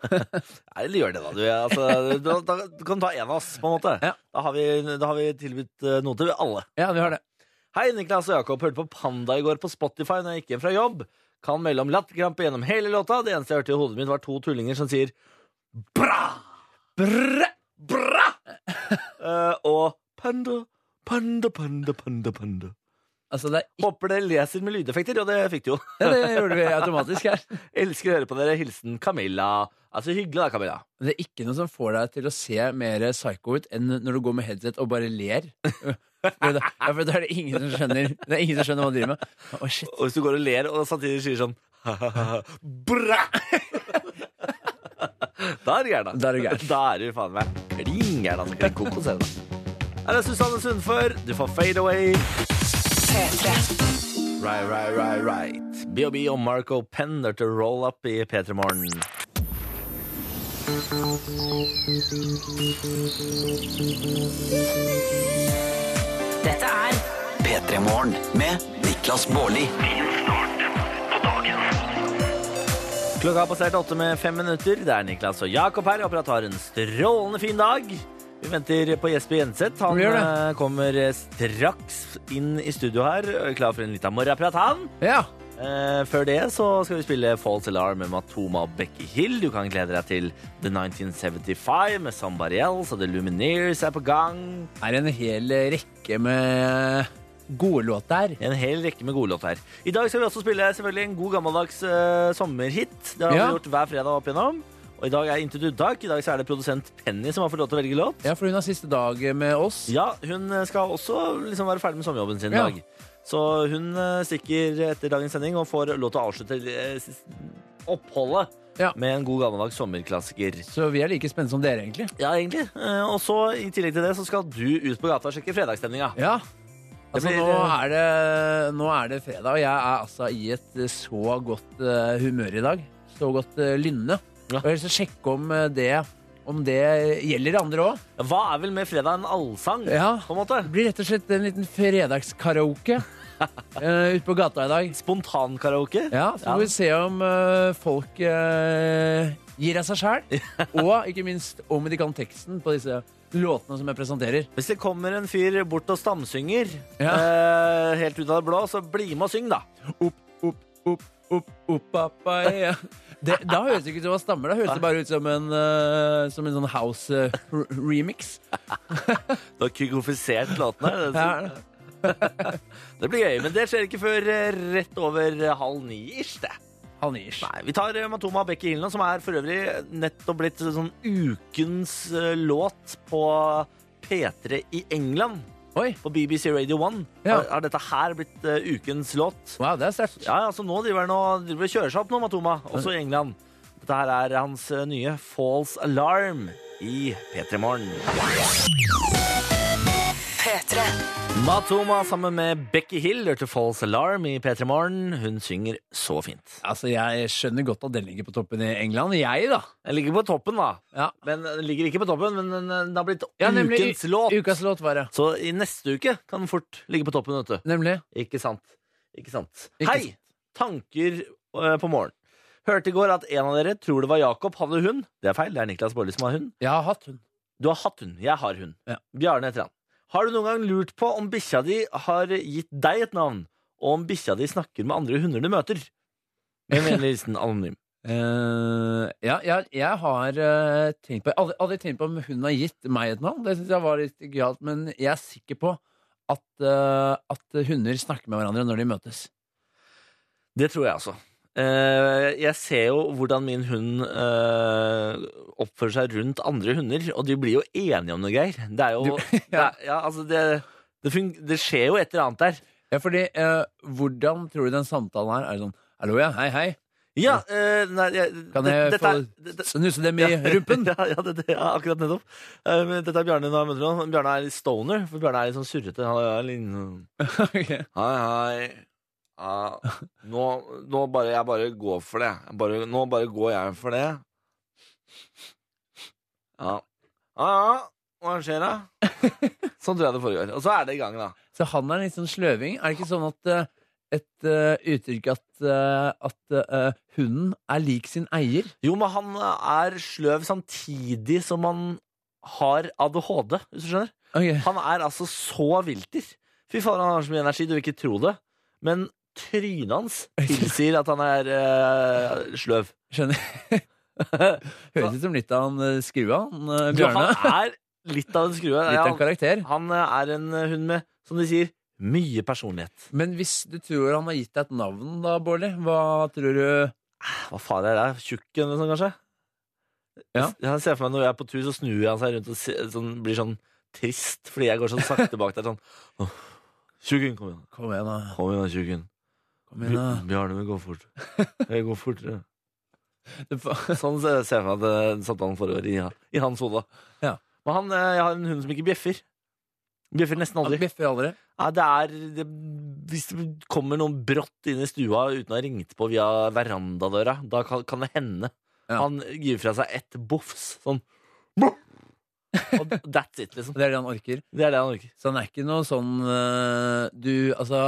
Speaker 2: Nei, eller gjør det, da. Du, altså, du, da, du kan ta en av oss, på en måte.
Speaker 3: Ja.
Speaker 2: Da har vi, da har vi tilbudt eh, noe til alle.
Speaker 3: Ja, vi har det.
Speaker 2: Hei, Niklas og Jakob. Hørte på Panda i går på Spotify når jeg gikk hjem fra jobb. Kan melde om latterkrampe gjennom hele låta. Det eneste jeg hørte i hodet mitt, var to tullinger som sier bra, brr, bra Eh, og panda, panda, panda, panda, panda.
Speaker 3: Altså, det er ikke
Speaker 2: Håper det leser med lydeffekter, og det fikk det jo.
Speaker 3: ja, Det gjorde vi automatisk her.
Speaker 2: Elsker å høre på dere. Hilsen Camilla. Altså, hyggelig da, Camilla.
Speaker 3: Men det er ikke noe som får deg til å se mer psycho ut enn når du går med headset og bare ler. For da, ja, for da er det ingen som skjønner Det er ingen som skjønner hva du driver med. Å, shit.
Speaker 2: Og hvis du går og ler og samtidig sier sånn bra Da er du gæren, da.
Speaker 3: Da er du gæren.
Speaker 2: Da er du faen meg klin gæren. Altså. Klin kokos er det, da. Her er Susanne Sundfør. Du får Fade Away. Right, right, right, right. BOB og Marco Penn er til roll up i P3 Morgen.
Speaker 4: Dette er
Speaker 1: P3 Morgen med Niklas Baarli.
Speaker 2: Klokka har passert åtte med fem minutter. Det er Niklas og Jakob her. Jeg Håper at du har en strålende fin dag. Vi venter på Jesper Jenseth. Han
Speaker 3: Vi gjør det.
Speaker 2: eh, kommer straks inn i studio her. Klar for en liten morgenprat, han.
Speaker 3: Ja.
Speaker 2: Eh, før det så skal vi spille False Alarm med Matoma og Becky Hill. Du kan glede deg til The 1975 med Somebody Else, og The Lumineers er på gang.
Speaker 3: Er en hel rekke med gode låter.
Speaker 2: En hel rekke med gode låter. I dag skal vi også spille selvfølgelig en god gammeldags eh, sommerhit. Det har
Speaker 3: Ja.
Speaker 2: vi gjort hver fredag opp igjennom. Og i dag er intet unntak. I dag så er det produsent Penny som har fått lov til å velge låt.
Speaker 3: Ja, for hun har siste dag med oss.
Speaker 2: Ja, hun eh, skal også liksom være ferdig med sommerjobben sin i
Speaker 3: Ja.
Speaker 2: dag. Så hun eh, stikker etter dagens sending og får lov til å avslutte eh, sis- oppholdet
Speaker 3: Ja.
Speaker 2: med en god gammeldags sommerklassiker.
Speaker 3: Så vi er like spennende som dere, egentlig.
Speaker 2: Ja, egentlig. Eh, Og så i tillegg til det så skal du ut på gata og sjekke fredagsstemninga.
Speaker 3: Ja. Altså,
Speaker 2: Det blir,
Speaker 3: nå, er det, nå er det fredag, og jeg er altså i et så godt eh, humør i dag. Så godt eh, lynne.
Speaker 2: Ja.
Speaker 3: Og jeg vil så sjekke om eh, det, om det gjelder andre òg.
Speaker 2: Hva er vel med fredag en allsang?
Speaker 3: Ja.
Speaker 2: På en måte.
Speaker 3: Det blir rett og slett en liten fredagskaraoke uh, ute på gata i dag.
Speaker 2: Spontankaraoke.
Speaker 3: Ja, Så får vi se om eh, folk eh, gir av seg sjæl. Og ikke minst om de kan teksten på disse låtene som jeg presenterer.
Speaker 2: Hvis det kommer en fyr bort og stamsynger
Speaker 3: Ja.
Speaker 2: eh, helt ut av det blå, så bli med og syng, da.
Speaker 3: Opp, opp, opp, opp, opp, appa, ja. det, Da høres det ikke ut som han stammer, da høres det bare ut som en, eh, som en sånn house-remix.
Speaker 2: Du har kygofisert låten her. Det,
Speaker 3: ja.
Speaker 2: det blir gøy, men det skjer ikke før eh, rett over eh, halv ni-ish, det.
Speaker 3: Han gir seg.
Speaker 2: Nei, vi tar eh, Matoma Becky Hillen, som er for øvrig nettopp blitt sånn ukens eh, låt på P3 i England.
Speaker 3: Oi,
Speaker 2: på BBC Radio 1
Speaker 3: Ja.
Speaker 2: har, har dette her blitt eh, ukens låt.
Speaker 3: wow, det er sterkt.
Speaker 2: Ja, altså nå driver han og driver og kjører seg opp nå, Matoma, også i England. Dette her er hans eh, nye False Alarm i P3 Morgen.
Speaker 4: P3.
Speaker 2: Matoma sammen med Becky Hill hørte False Alarm i P3 Morgen. Hun synger så fint.
Speaker 3: Altså, Jeg skjønner godt at den ligger på toppen i England. Jeg, da.
Speaker 2: Den ligger på toppen, da.
Speaker 3: Ja,
Speaker 2: Men den ligger ikke på toppen, men den, den har blitt
Speaker 3: ja nemlig.
Speaker 2: ukens låt.
Speaker 3: Ukas låt var det.
Speaker 2: Så i neste uke kan den fort ligge på toppen, vet du.
Speaker 3: Nemlig.
Speaker 2: Ikke sant. Ikke sant.
Speaker 3: Ikke
Speaker 2: Hei! Tanker eh, på morgen. Hørte i går at en av dere tror det var Jakob, hadde hund. Det er feil, det er Niklas Baarli som har hund.
Speaker 3: Jeg har hatt hund.
Speaker 2: Du har hatt hund. Jeg har hund.
Speaker 3: Ja.
Speaker 2: Bjarne heter han. Har du noen gang lurt på om bikkja di har gitt deg et navn, og om bikkja di snakker med andre hunder du møter? Med vennlig hilsen anonym.
Speaker 3: Eh, ja, jeg, jeg har eh, tenkt på aldri, aldri tenkt på om hun har gitt meg et navn. Det synes jeg var litt gøyalt, men jeg er sikker på at, eh, at hunder snakker med hverandre når de møtes.
Speaker 2: Det tror jeg altså. Eh, jeg ser jo hvordan min hund eh, oppfører seg rundt andre hunder, og de blir jo enige om noe, Geir. Det er jo Det, er, ja, altså det, det, fun det skjer jo et eller annet der.
Speaker 3: Ja, fordi eh, Hvordan tror du den samtalen her er sånn Hallo, ja. Hei, hei.
Speaker 2: Ja, eh, nei, jeg,
Speaker 3: Kan
Speaker 2: det-
Speaker 3: jeg
Speaker 2: dette
Speaker 3: få
Speaker 2: er- det- det-
Speaker 3: snuse Sånn dem i rumpen?
Speaker 2: Ja, ja, det, det, ja akkurat nettopp. Eh, men dette er Bjarne. Nå, møter han. Bjarne er litt stoner, for Bjarne er litt sånn surrete. Han er litt sånn,
Speaker 3: Ok.
Speaker 2: Hei, hei. Ja, nå, nå bare Jeg bare går for det. Jeg Bare, nå bare går jeg for det. Ja. Ja, ja. Hva skjer, da? Sånn tror jeg det foregår. Og så er det i gang, da.
Speaker 3: Så han er en litt sånn sløving. Er det ikke sånn at eh, et eh, uttrykk at, eh, at eh, hunden er lik sin eier?
Speaker 2: Jo, men han eh, er sløv samtidig som han har ADHD, hvis du skjønner.
Speaker 3: Ok.
Speaker 2: Han er altså så vilter. Fy faen, han har så mye energi, du vil ikke tro det. Men trynet hans tilsier at han er eh, sløv.
Speaker 3: Skjønner. Høres ut som litt av han eh, skrua, han eh,
Speaker 2: Du,
Speaker 3: Bjarne.
Speaker 2: han er litt av en skrue.
Speaker 3: Litt av en
Speaker 2: Han,
Speaker 3: karakter.
Speaker 2: han eh, er en hund med, som de sier, mye personlighet.
Speaker 3: Men hvis du tror han har gitt deg et navn, da, Bårdli, hva tror du
Speaker 2: Hva faen er det? Tjukken eller sånn, kanskje?
Speaker 3: Ja.
Speaker 2: Jeg, jeg ser for meg Når jeg er på tur, så snur han seg rundt og se, sånn, blir sånn trist fordi jeg går sånn sakte bak der. sånn «Åh, Tjukken, kom igjen.
Speaker 3: Kom igjen, da.
Speaker 2: Kom igjen, da, tjukken.
Speaker 3: Kom igjen, da.
Speaker 2: Bj- Bjarne vil gå fort. Jeg går fortere.
Speaker 3: Du får-
Speaker 2: Sånn ser jeg for meg at eh, samtalen foregår i, i hans hode.
Speaker 3: Ja.
Speaker 2: Men han, eh, jeg har en hund som ikke bjeffer. Bjeffer nesten
Speaker 3: Han
Speaker 2: aldri.
Speaker 3: bjeffer aldri.
Speaker 2: Ja, det er, det, hvis det kommer noen brått inn i stua uten å ha ringt på via verandadøra, da kan, kan det hende.
Speaker 3: Ja.
Speaker 2: Han gir fra seg ett bofs, sånn Og that's it, liksom.
Speaker 3: Det er det han orker.
Speaker 2: Det er det han orker.
Speaker 3: Så han er ikke noe sånn eh, Du, altså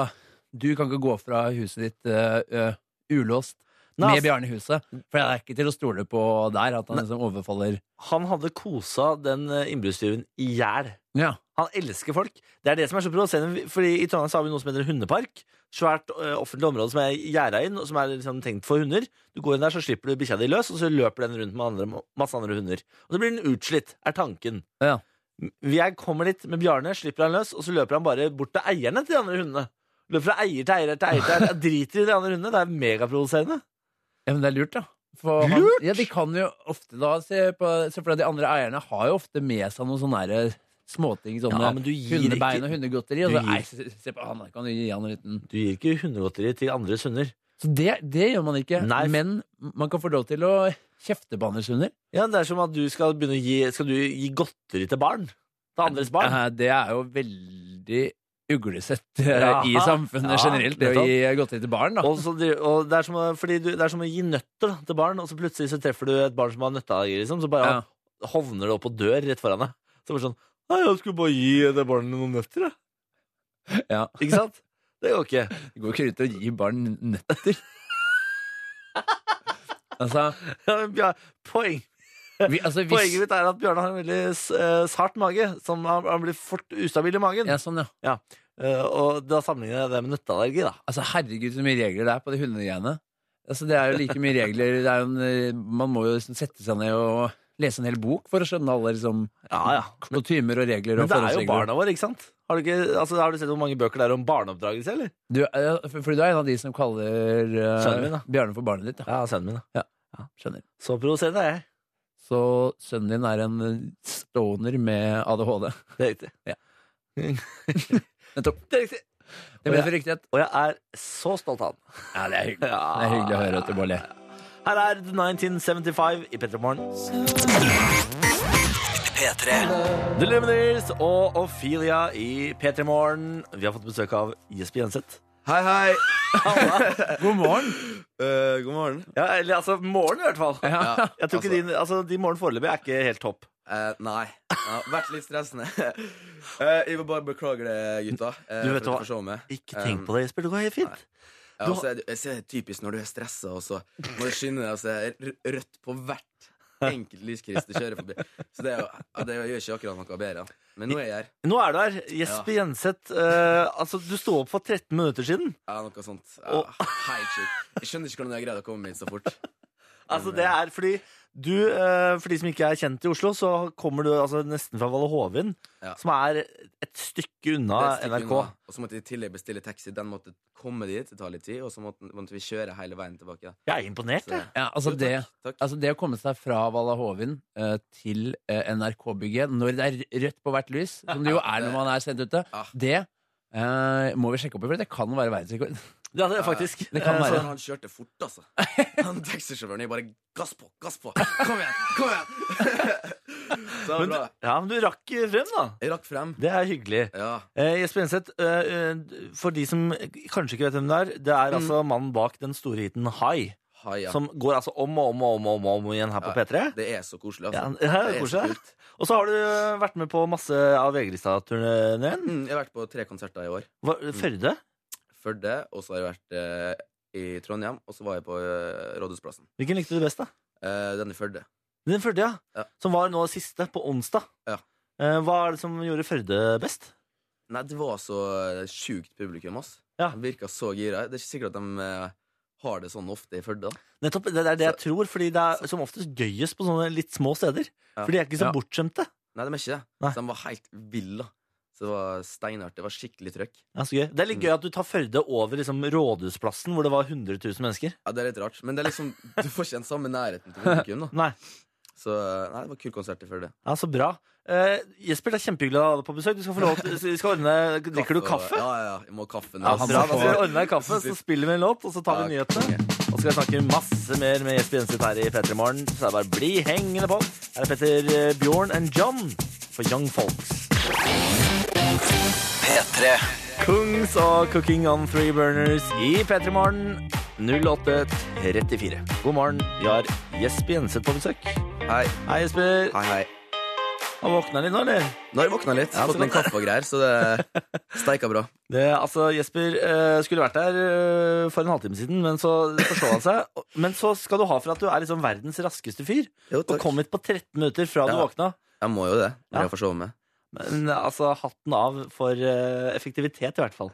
Speaker 3: Du kan ikke gå fra huset ditt eh, eh, ulåst
Speaker 2: Nei, altså-
Speaker 3: med
Speaker 2: ass.
Speaker 3: Bjarne i huset. For det er ikke til å stole på der, at han liksom overfaller
Speaker 2: Han hadde kosa den eh, innbruddstyven i hjel.
Speaker 3: Ja.
Speaker 2: Han elsker folk. Det er det som er så provoserende. Fordi I Trondheim så har vi noe som heter hundepark. Svært ø, offentlig område som er gjerda inn, og som er liksom tenkt for hunder. Du går inn der, så slipper du bikkja di løs, og så løper den rundt med andre, masse andre hunder. Og så blir den utslitt, er tanken.
Speaker 3: Ja.
Speaker 2: Jeg kommer dit med Bjarne, slipper han løs, og så løper han bare bort til eierne til de andre hundene. Løper fra eier til eier til eier til eier. Jeg driter i de andre hundene. Det er megaprovoserende.
Speaker 3: ja, men det er lurt, da. For han, ja, de kan jo ofte da se på Se for deg de andre eierne har jo ofte med seg noen sånne her eh, småting. Sånne
Speaker 2: Ja, men du gir
Speaker 3: hundebein
Speaker 2: ikke-
Speaker 3: og hundegodteri. Og
Speaker 2: du
Speaker 3: så,
Speaker 2: gir-
Speaker 3: nei, se, se på han, da kan du gi han en liten
Speaker 2: Du gir ikke hundegodteri til andres hunder.
Speaker 3: Så det, det gjør man ikke.
Speaker 2: Nei.
Speaker 3: Men man kan få lov til å kjefte på andres hunder.
Speaker 2: Ja, Det er som at du skal begynne å gi Skal du gi godteri til barn? Til andres barn?
Speaker 3: Eh, Det er jo veldig uglesett eh,
Speaker 2: Ja.
Speaker 3: i samfunnet
Speaker 2: Ja,
Speaker 3: generelt, det å
Speaker 2: nettopp.
Speaker 3: gi godteri til barn, da.
Speaker 2: Og, så, dri- og det, er som, å- fordi du, det er som å gi nøtter da, til barn, og så plutselig så treffer du et barn som har nøtteallergi, liksom, så bare
Speaker 3: Ja.
Speaker 2: hovner det opp og dør rett foran deg. Så bare sånn Nei, jeg skulle bare gi det barnet noen nøtter, jeg.
Speaker 3: Ja.
Speaker 2: Ikke sant? Det går ikke.
Speaker 3: Det går ikke rundt og gir barn nøtter. altså,
Speaker 2: Ja, men Bjar- Poeng.
Speaker 3: vi, altså hvis
Speaker 2: Poenget mitt er at Bjarne har en veldig s- eh, sart mage. Som han, han blir fort ustabil i magen.
Speaker 3: ja, sånn, ja.
Speaker 2: Eh, og da sammenligner jeg det med nøtteallergi, da.
Speaker 3: Altså, herregud, så mye regler det er på de hundegreiene. Altså, det er jo like mye regler. Det er jo en, eh, man må jo liksom sette seg ned og lese en hel bok for å skjønne alle liksom,
Speaker 2: Ja, ja.
Speaker 3: kutymer og regler.
Speaker 2: Men
Speaker 3: Og
Speaker 2: det er jo
Speaker 3: forholdsregler.
Speaker 2: barna våre, ikke sant? Har du, ikke, altså, har du sett hvor mange bøker det er om barneoppdragelse, eller?
Speaker 3: Du, eh, for, for du er en av de som kaller eh,
Speaker 2: Sønnen min, da.
Speaker 3: Bjarne for barnet ditt. Ja.
Speaker 2: Ja, sønnen min, da.
Speaker 3: Skjønner.
Speaker 2: Så provoserende er jeg.
Speaker 3: Så sønnen din er en eh, stoner med ADHD.
Speaker 2: Det er riktig.
Speaker 3: Ja.
Speaker 2: Nettopp. Det er riktig.
Speaker 3: Det ble for riktighet.
Speaker 2: Og jeg er så stolt av den.
Speaker 3: Ja, det er hyggelig.
Speaker 2: Ja.
Speaker 3: Det er hyggelig å høre, Øtte Bårli.
Speaker 2: Her er The 1975 i P3 Morgen.
Speaker 1: P3.
Speaker 2: The Lumineers og Ophelia i P3 Morgen. Vi har fått besøk av Jesper Jenseth.
Speaker 5: Hei, hei.
Speaker 3: God morgen.
Speaker 5: Eh, god morgen.
Speaker 2: Ja, eller altså morgen i hvert fall.
Speaker 5: Ja.
Speaker 2: Jeg tror ikke din, altså, Din morgen foreløpig er ikke helt topp.
Speaker 5: Eh, nei. Det har vært litt stressende. Eh, jeg vil bare beklage det, gutta. eh,
Speaker 2: Du vet
Speaker 5: for
Speaker 2: hva?
Speaker 5: at jeg får se meg. Eh,
Speaker 2: Ikke tenk på det, Jesper. Det går helt fint.
Speaker 5: Ja,
Speaker 2: Du
Speaker 5: og så er det- jeg ser det typisk når du er stressa, og så må du skynde deg, og så er det r- rødt på hvert enkelt lyskryss du kjører forbi. Så det, er jo, ja, det gjør ikke akkurat noe bedre. Men nå er jeg her.
Speaker 2: Nå er du her. Jesper Jenseth, eh, altså, du sto opp for 13 minutter siden.
Speaker 5: Ja, noe sånt. Ja, helt sjukt. Jeg skjønner ikke hvordan jeg greide å komme hit så fort.
Speaker 2: Altså, det er fordi du, eh, for de som ikke er kjent i Oslo, så kommer du altså, nesten fra Valle Hovin,
Speaker 5: Ja.
Speaker 2: som er et stykke unna
Speaker 5: Det er et stykke
Speaker 2: Ah, NRK.
Speaker 5: unna. Og så måtte jeg i tillegg bestille taxi. Den måtte komme dit, det tar litt tid. Og så måtte, måtte vi kjøre hele veien tilbake.
Speaker 2: Jeg er imponert,
Speaker 5: Så,
Speaker 2: jeg.
Speaker 3: Ja, altså
Speaker 5: Jo,
Speaker 3: det,
Speaker 5: takk, takk.
Speaker 3: altså det å komme seg fra Valla Hovin eh, til eh, NRK-bygget når det er rødt på hvert lys, som det jo er når man er sent ute,
Speaker 5: Ah.
Speaker 3: det eh, må vi sjekke opp i, for det kan være verdensrekord.
Speaker 2: Det er det faktisk.
Speaker 3: Det kan
Speaker 2: Eh,
Speaker 5: Altså,
Speaker 3: være.
Speaker 5: han kjørte fort, altså. Han taxisjåføren jeg bare gass på, gass på! Kom igjen! kom igjen Så det var
Speaker 2: Men,
Speaker 5: bra.
Speaker 2: du- ja, men du rakk frem, da.
Speaker 5: Jeg rakk frem.
Speaker 2: Det er hyggelig.
Speaker 5: Ja.
Speaker 2: Eh, Jesper Enseth, eh, eh, for de som kanskje ikke vet hvem det er, det er altså mannen bak den store hiten High,
Speaker 5: Hai, Mm. ja.
Speaker 2: som går altså om og om og om, og om, og om igjen her på
Speaker 5: Ja.
Speaker 2: P3.
Speaker 5: Det er så koselig,
Speaker 2: Ja,
Speaker 5: altså.
Speaker 2: det er
Speaker 5: Det er så
Speaker 2: koselig.
Speaker 5: kult.
Speaker 2: Og så har du vært med på masse av VG-lista-turneen.
Speaker 5: Mm, Jeg har vært på tre konserter i år.
Speaker 2: Hva- Førde?
Speaker 5: Førde, og så har jeg vært eh, i Trondheim, og så var jeg på eh, Rådhusplassen.
Speaker 2: Hvilken likte du best, da?
Speaker 5: Eh, den i Førde.
Speaker 2: Den Førde, ja.
Speaker 5: Ja.
Speaker 2: Som var nå siste, på onsdag.
Speaker 5: Ja.
Speaker 2: Eh, Hva er det som gjorde Førde best?
Speaker 5: Nei, det var så eh, sjukt publikum, ass.
Speaker 2: Ja.
Speaker 5: De virka så gira. Det er ikke sikkert at de eh, har det sånn ofte i Førde. da.
Speaker 2: Nettopp, Det er det jeg tror, fordi det er som oftest gøyest på sånne litt små steder.
Speaker 5: Ja.
Speaker 2: For de er ikke så
Speaker 3: Ja.
Speaker 2: bortskjemte.
Speaker 5: Nei, de er ikke det.
Speaker 2: Nei.
Speaker 5: Så de var helt ville. Så det var steinhardt. Det var skikkelig trøkk.
Speaker 2: Det er, så gøy. det er litt
Speaker 5: Mm.
Speaker 2: gøy at du tar Førde over liksom, Rådhusplassen, hvor det var 100 000 mennesker.
Speaker 5: Ja, det er litt rart, men det er liksom, du får ikke den samme nærheten til publikum. da.
Speaker 2: Nei,
Speaker 5: Så eh, nei, det var kul konsert i Førde.
Speaker 2: ja, Så bra. Eh, Jesper, det er kjempehyggelig å ha deg på besøk. Du skal få lov til, vi skal ordne, Drikker du kaffe?
Speaker 5: Ja, ja, ja. Jeg må ha kaffe nå.
Speaker 2: Ja,
Speaker 5: ass.
Speaker 3: han
Speaker 2: bra,
Speaker 3: må
Speaker 2: da skal vi ordne deg kaffe, så spiller vi en låt, og så tar vi
Speaker 5: Ja,
Speaker 2: nyhetene. Og så skal vi snakke masse mer med Jesper Jenseth her i P3 Morgen, så det er bare å bli hengende på. Her er Petter eh, Bjørn and John for Young Folks.
Speaker 1: P3.
Speaker 2: Kungs og Cooking on Three Burners i P3 Morgen 08.34. God morgen, vi har Jesper Jenseth på besøk.
Speaker 5: Hei,
Speaker 2: Hei, Jesper.
Speaker 5: hei, hei.
Speaker 2: Han våkna litt nå, eller?
Speaker 5: Nå har jeg våkna litt,
Speaker 2: Ja, så
Speaker 5: fått meg
Speaker 2: godt.
Speaker 5: kaffe og greier, så det steika bra.
Speaker 2: Det, altså, Jesper eh, skulle vært der eh, for en halvtime siden, men så forsov han seg. Og- Men så skal du ha for at du er liksom verdens raskeste fyr.
Speaker 5: Jo,
Speaker 2: Og
Speaker 5: takk.
Speaker 2: kom hit på 13 minutter fra du
Speaker 5: Ja.
Speaker 2: våkna.
Speaker 5: Jeg må jo det når
Speaker 2: Ja.
Speaker 5: jeg får sove med.
Speaker 2: Men altså, hatten av for eh, effektivitet, i hvert fall.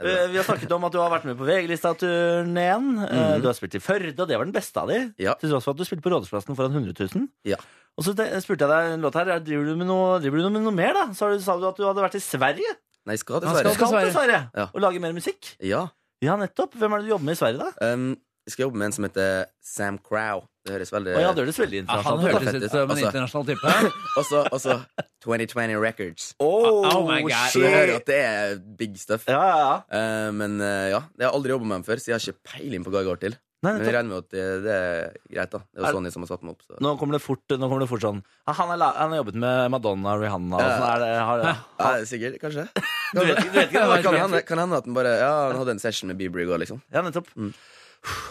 Speaker 5: Det er bra.
Speaker 2: Eh, vi har snakket om at du har vært med på VG-lista-turneen. Eh, Du har spilt i Førde, og det var den beste av de.
Speaker 5: Mhm. Ja.
Speaker 2: Til tross for at du spilte på Rådhusplassen foran 100 000.
Speaker 5: Ja.
Speaker 2: Og så te- spurte jeg deg en låt her. Driver du med noe, driver du med noe mer, da? Så har du- sa du at du hadde vært i Sverige.
Speaker 5: Nei, jeg
Speaker 3: Han
Speaker 5: skal
Speaker 3: skal
Speaker 5: dessverre.
Speaker 2: Du skal til Sverige
Speaker 5: Ja.
Speaker 2: og lage mer musikk.
Speaker 5: Ja.
Speaker 2: Ja, nettopp. Hvem er det du jobber med i Sverige, da?
Speaker 5: Um, jeg skal jobbe med en som heter Sam Crow. Det høres veldig
Speaker 2: Å ja, det høres veldig
Speaker 3: Ja, han
Speaker 2: internasjonalt ut. da.
Speaker 3: hørtes ut som en
Speaker 5: Altså-
Speaker 3: internasjonal type.
Speaker 5: Og så og så 2020 Records.
Speaker 2: Oh,
Speaker 3: Oh my God.
Speaker 5: Så du hører
Speaker 2: shit.
Speaker 5: at det er big stuff.
Speaker 2: Ja, ja, ja.
Speaker 5: Eh, men eh, ja, jeg har aldri jobba med dem før, så jeg har ikke peiling på hva jeg går til.
Speaker 2: Nei,
Speaker 5: Men
Speaker 2: nettopp.
Speaker 5: jeg regner med at det, det er greit, da. Det er
Speaker 2: Er-
Speaker 5: jo Sonny som har satt meg opp. Så.
Speaker 2: Nå kommer det fort, nå kommer det fort sånn «Ja, han, er la, han har jobbet med Madonna og Rihanna og sånn. Er det, har,
Speaker 5: Ja, det er sikkert, kanskje.
Speaker 2: du, vet, ikke- du vet ikke
Speaker 5: Ja,
Speaker 2: hva
Speaker 5: kan,
Speaker 2: det var?
Speaker 5: hende, kan hende at den bare Ja, han hadde en session med Bieber i går, liksom.
Speaker 2: Ja, nettopp.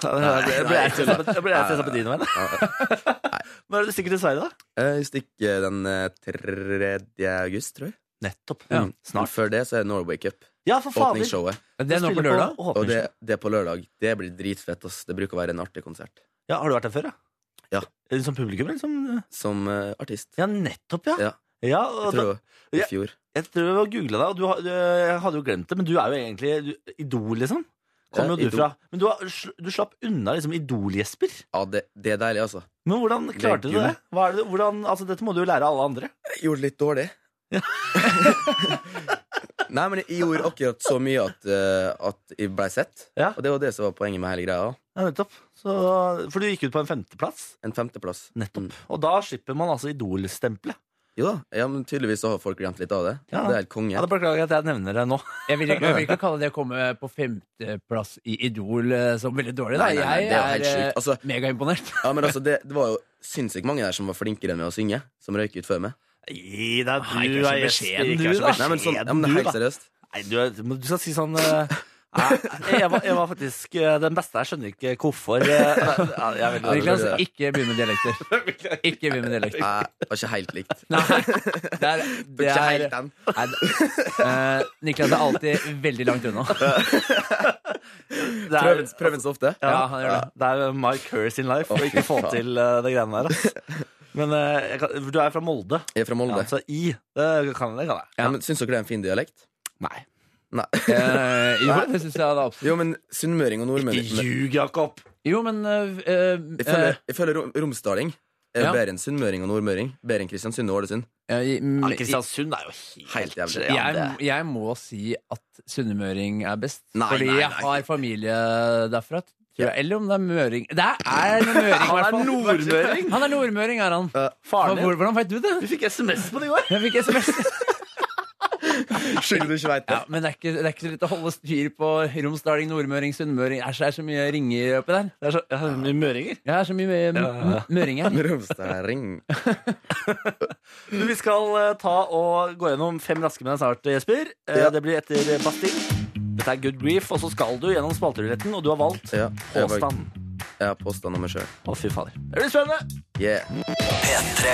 Speaker 2: Ja, det- Jeg ble jeg stresset på- jeg ble jeg stresset på dine vegne. Når er det du stikker til Sverige, da?
Speaker 5: Jeg stikker den eh, 3. august, tror jeg.
Speaker 2: Nettopp.
Speaker 3: Ja.
Speaker 5: Mm. Men Før det så er Norway Cup.
Speaker 2: Ja, for fader.
Speaker 5: Åpningsshowet.
Speaker 3: Det er nå på lørdag.
Speaker 5: Og det, det er på lørdag. Det blir dritfett. Ass. Det bruker å være en artig konsert.
Speaker 2: Ja, har du vært der før, ja?
Speaker 5: Ja.
Speaker 2: Eh, Som publikum, eller som
Speaker 5: Som eh, artist.
Speaker 2: Ja, nettopp, ja.
Speaker 5: Ja.
Speaker 2: Ja, og da,
Speaker 5: Jeg tror det var i fjor.
Speaker 2: jeg tror jeg googla deg, og du, har- du jeg hadde jo glemt det, men du er jo egentlig du, idol, liksom. Kommer jo du
Speaker 5: Ja, Idol.
Speaker 2: fra. Men du, har, sl- du slapp unna liksom Idol-Jesper.
Speaker 5: Ja, det, det er deilig, altså.
Speaker 2: Men hvordan klarte du
Speaker 5: gull.
Speaker 2: det? Hva er det hvordan, altså, dette må du jo lære alle andre.
Speaker 5: Jeg gjorde det litt dårlig. Nei, men jeg gjorde akkurat så mye at, eh, at jeg blei sett.
Speaker 2: Ja.
Speaker 5: Og det var det som var poenget med hele greia.
Speaker 2: Ja, nettopp. Så, for du gikk ut på en femteplass.
Speaker 5: En femteplass. Mm.
Speaker 2: Nettopp. Og da slipper man altså Idol-stempelet.
Speaker 5: Jo da, ja, men tydeligvis så har folk glemt litt av det.
Speaker 2: Ja.
Speaker 5: Det er helt
Speaker 2: Ja,
Speaker 5: konge.
Speaker 2: da Beklager at jeg nevner det nå.
Speaker 3: Jeg vil, ikke- jeg vil ikke kalle det å komme på femteplass i Idol eh, som veldig dårlig. Da.
Speaker 5: Nei, nei, nei, det er jo
Speaker 3: jeg
Speaker 5: helt
Speaker 3: er
Speaker 5: sjukt.
Speaker 3: eh,
Speaker 5: Altså,
Speaker 3: megaimponert.
Speaker 5: ja, men altså, det, det var jo sinnssykt mange der som var flinkere enn meg å synge. Som røyk ut før meg.
Speaker 2: Gi deg,
Speaker 3: Nei, ikke så beskjeden, ikke så
Speaker 5: Nei, men, sånn, ja, men det er helt seriøst.
Speaker 2: Nei, du, er- men du skal si sånn eh, Nei, jeg, var, jeg var faktisk eh, den beste. Jeg skjønner ikke hvorfor. eh, ja, jeg er veldig
Speaker 5: det blir
Speaker 3: Niklas,
Speaker 5: det.
Speaker 3: ikke begynn med dialekter. Ikke begynn med dialekter.
Speaker 5: Nei, det var ikke helt likt.
Speaker 3: Nei, det er,
Speaker 5: Det
Speaker 3: det
Speaker 5: var ikke
Speaker 3: er,
Speaker 5: helt den.
Speaker 3: nei, det- eh, Niklas er alltid veldig langt unna.
Speaker 2: det
Speaker 5: Prøv,
Speaker 2: er,
Speaker 5: prøv den så ofte.
Speaker 3: Ja, han gjør det.
Speaker 2: det er jo my curse in life å ikke få
Speaker 5: faen.
Speaker 2: til eh, det greiene der. ass. Men eh, jeg kan, du er fra Molde.
Speaker 5: Jeg er fra Molde.
Speaker 2: Ja, så I, det kan jeg. Det kan jeg.
Speaker 5: Ja, men Syns dere det er en fin dialekt?
Speaker 2: Nei.
Speaker 5: Nei.
Speaker 3: Eh, jo, det syns jeg da absolutt.
Speaker 5: Jo, men sunnmøring og nordmøring
Speaker 2: Ljug, Jakob!
Speaker 3: Jo, men eh, eh,
Speaker 5: Jeg føler, jeg føler rom- romsdaling er
Speaker 3: Ja.
Speaker 5: bedre enn sunnmøring og nordmøring. Bedre enn Kristiansund og Ålesund.
Speaker 3: eh, i- m-
Speaker 2: Ja, Kristiansund er jo helt,
Speaker 5: Helt jævlig.
Speaker 2: Ja, det-
Speaker 3: jeg, jeg må si at sunnmøring er best.
Speaker 5: Nei,
Speaker 3: fordi
Speaker 5: nei, nei.
Speaker 3: jeg har familie derfra. Tror jeg. Eller om det er møring. Det er møring, i hvert
Speaker 2: Han
Speaker 3: fall.
Speaker 2: er nordmøring! Eh,
Speaker 3: Han er nordmøring, er han.
Speaker 2: Faren
Speaker 3: Hvor-
Speaker 2: din.
Speaker 3: Hvordan veit du det?
Speaker 2: Du fikk SMS på det i går!
Speaker 3: Jeg fikk SMS.
Speaker 5: Skyld du ikke veit
Speaker 3: Ja, men det er, ikke, det er ikke så lett å holde styr på Romsdaling, Nordmøring, Sunnmøring. Æsj, det er så mye ringer oppi der.
Speaker 2: Det er så, ja, det er mye møringer.
Speaker 3: Ja, det er så mye m- m- møring her.
Speaker 5: Romsdaling.
Speaker 2: Du, Vi skal eh, ta og gå gjennom fem raske menn snart, Jesper. Eh,
Speaker 5: Ja.
Speaker 2: Det blir etter Bastille. Dette er Good Grief, og så skal du gjennom spalteruletten, og du har valgt
Speaker 5: Ja, jeg har valgt-
Speaker 2: påstand.
Speaker 5: jeg har påstand om meg sjøl.
Speaker 2: Å, fy fader. Det blir spennende!
Speaker 5: Yeah.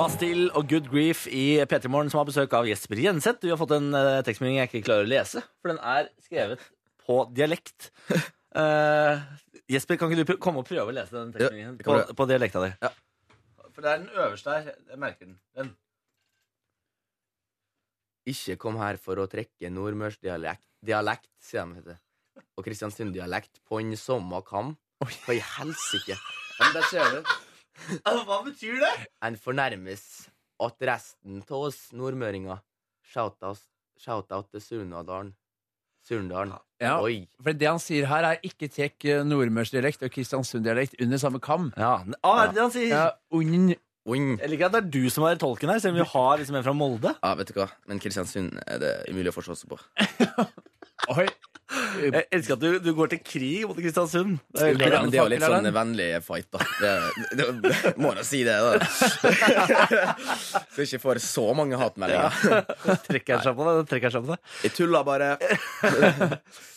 Speaker 2: Bastille og Good Grief i P3 Morgen, som har besøk av Jesper Jenseth. Du har fått en eh, tekstmelding jeg ikke klarer å lese, for den er skrevet på dialekt. Eh, Jesper, kan ikke du pr- komme og prøve å lese den tekstmeldingen
Speaker 5: jeg kan
Speaker 2: på,
Speaker 5: prøve.
Speaker 2: på dialekta di?
Speaker 5: Ja.
Speaker 2: For det er den øverste her. Jeg merker den. den.
Speaker 5: Ikke kom her for å trekke nordmørsdialekt, dialekt, sier de. Heter. det. Og Kristiansund-dialekt på en sommerkam. Hva i helsike? Ja, men der ser du.
Speaker 2: Altså, Hva betyr det?
Speaker 5: En fornærmes at resten av oss nordmøringer Shout-out shout til Surnadalen. Surndalen.
Speaker 3: Ja,
Speaker 5: Oi.
Speaker 3: for det han sier her, er ikke tek eh, nordmørsdialekt og kristiansunddialekt under samme kam.
Speaker 2: Ja, n- ah, er det det han sier?
Speaker 3: Ja, un,
Speaker 5: Oi.
Speaker 2: Jeg liker at det er du som er tolken her, selv om vi har liksom en fra Molde.
Speaker 5: Ja, vet du hva? Men Kristiansund er det umulig å forstå seg på.
Speaker 3: oi.
Speaker 2: Jeg elsker at du, du går til krig mot Kristiansund. Det er helt-
Speaker 5: Men det
Speaker 3: Hvordan
Speaker 5: er jo litt
Speaker 3: fakkel er
Speaker 5: sånn
Speaker 3: den?
Speaker 5: vennlig fight, da. Det, er- det, det, må da si det, da. Så ikke får så mange hatmeldinger.
Speaker 2: trekker jeg seg på deg, det trekker jeg seg på deg.
Speaker 5: Jeg tulla bare.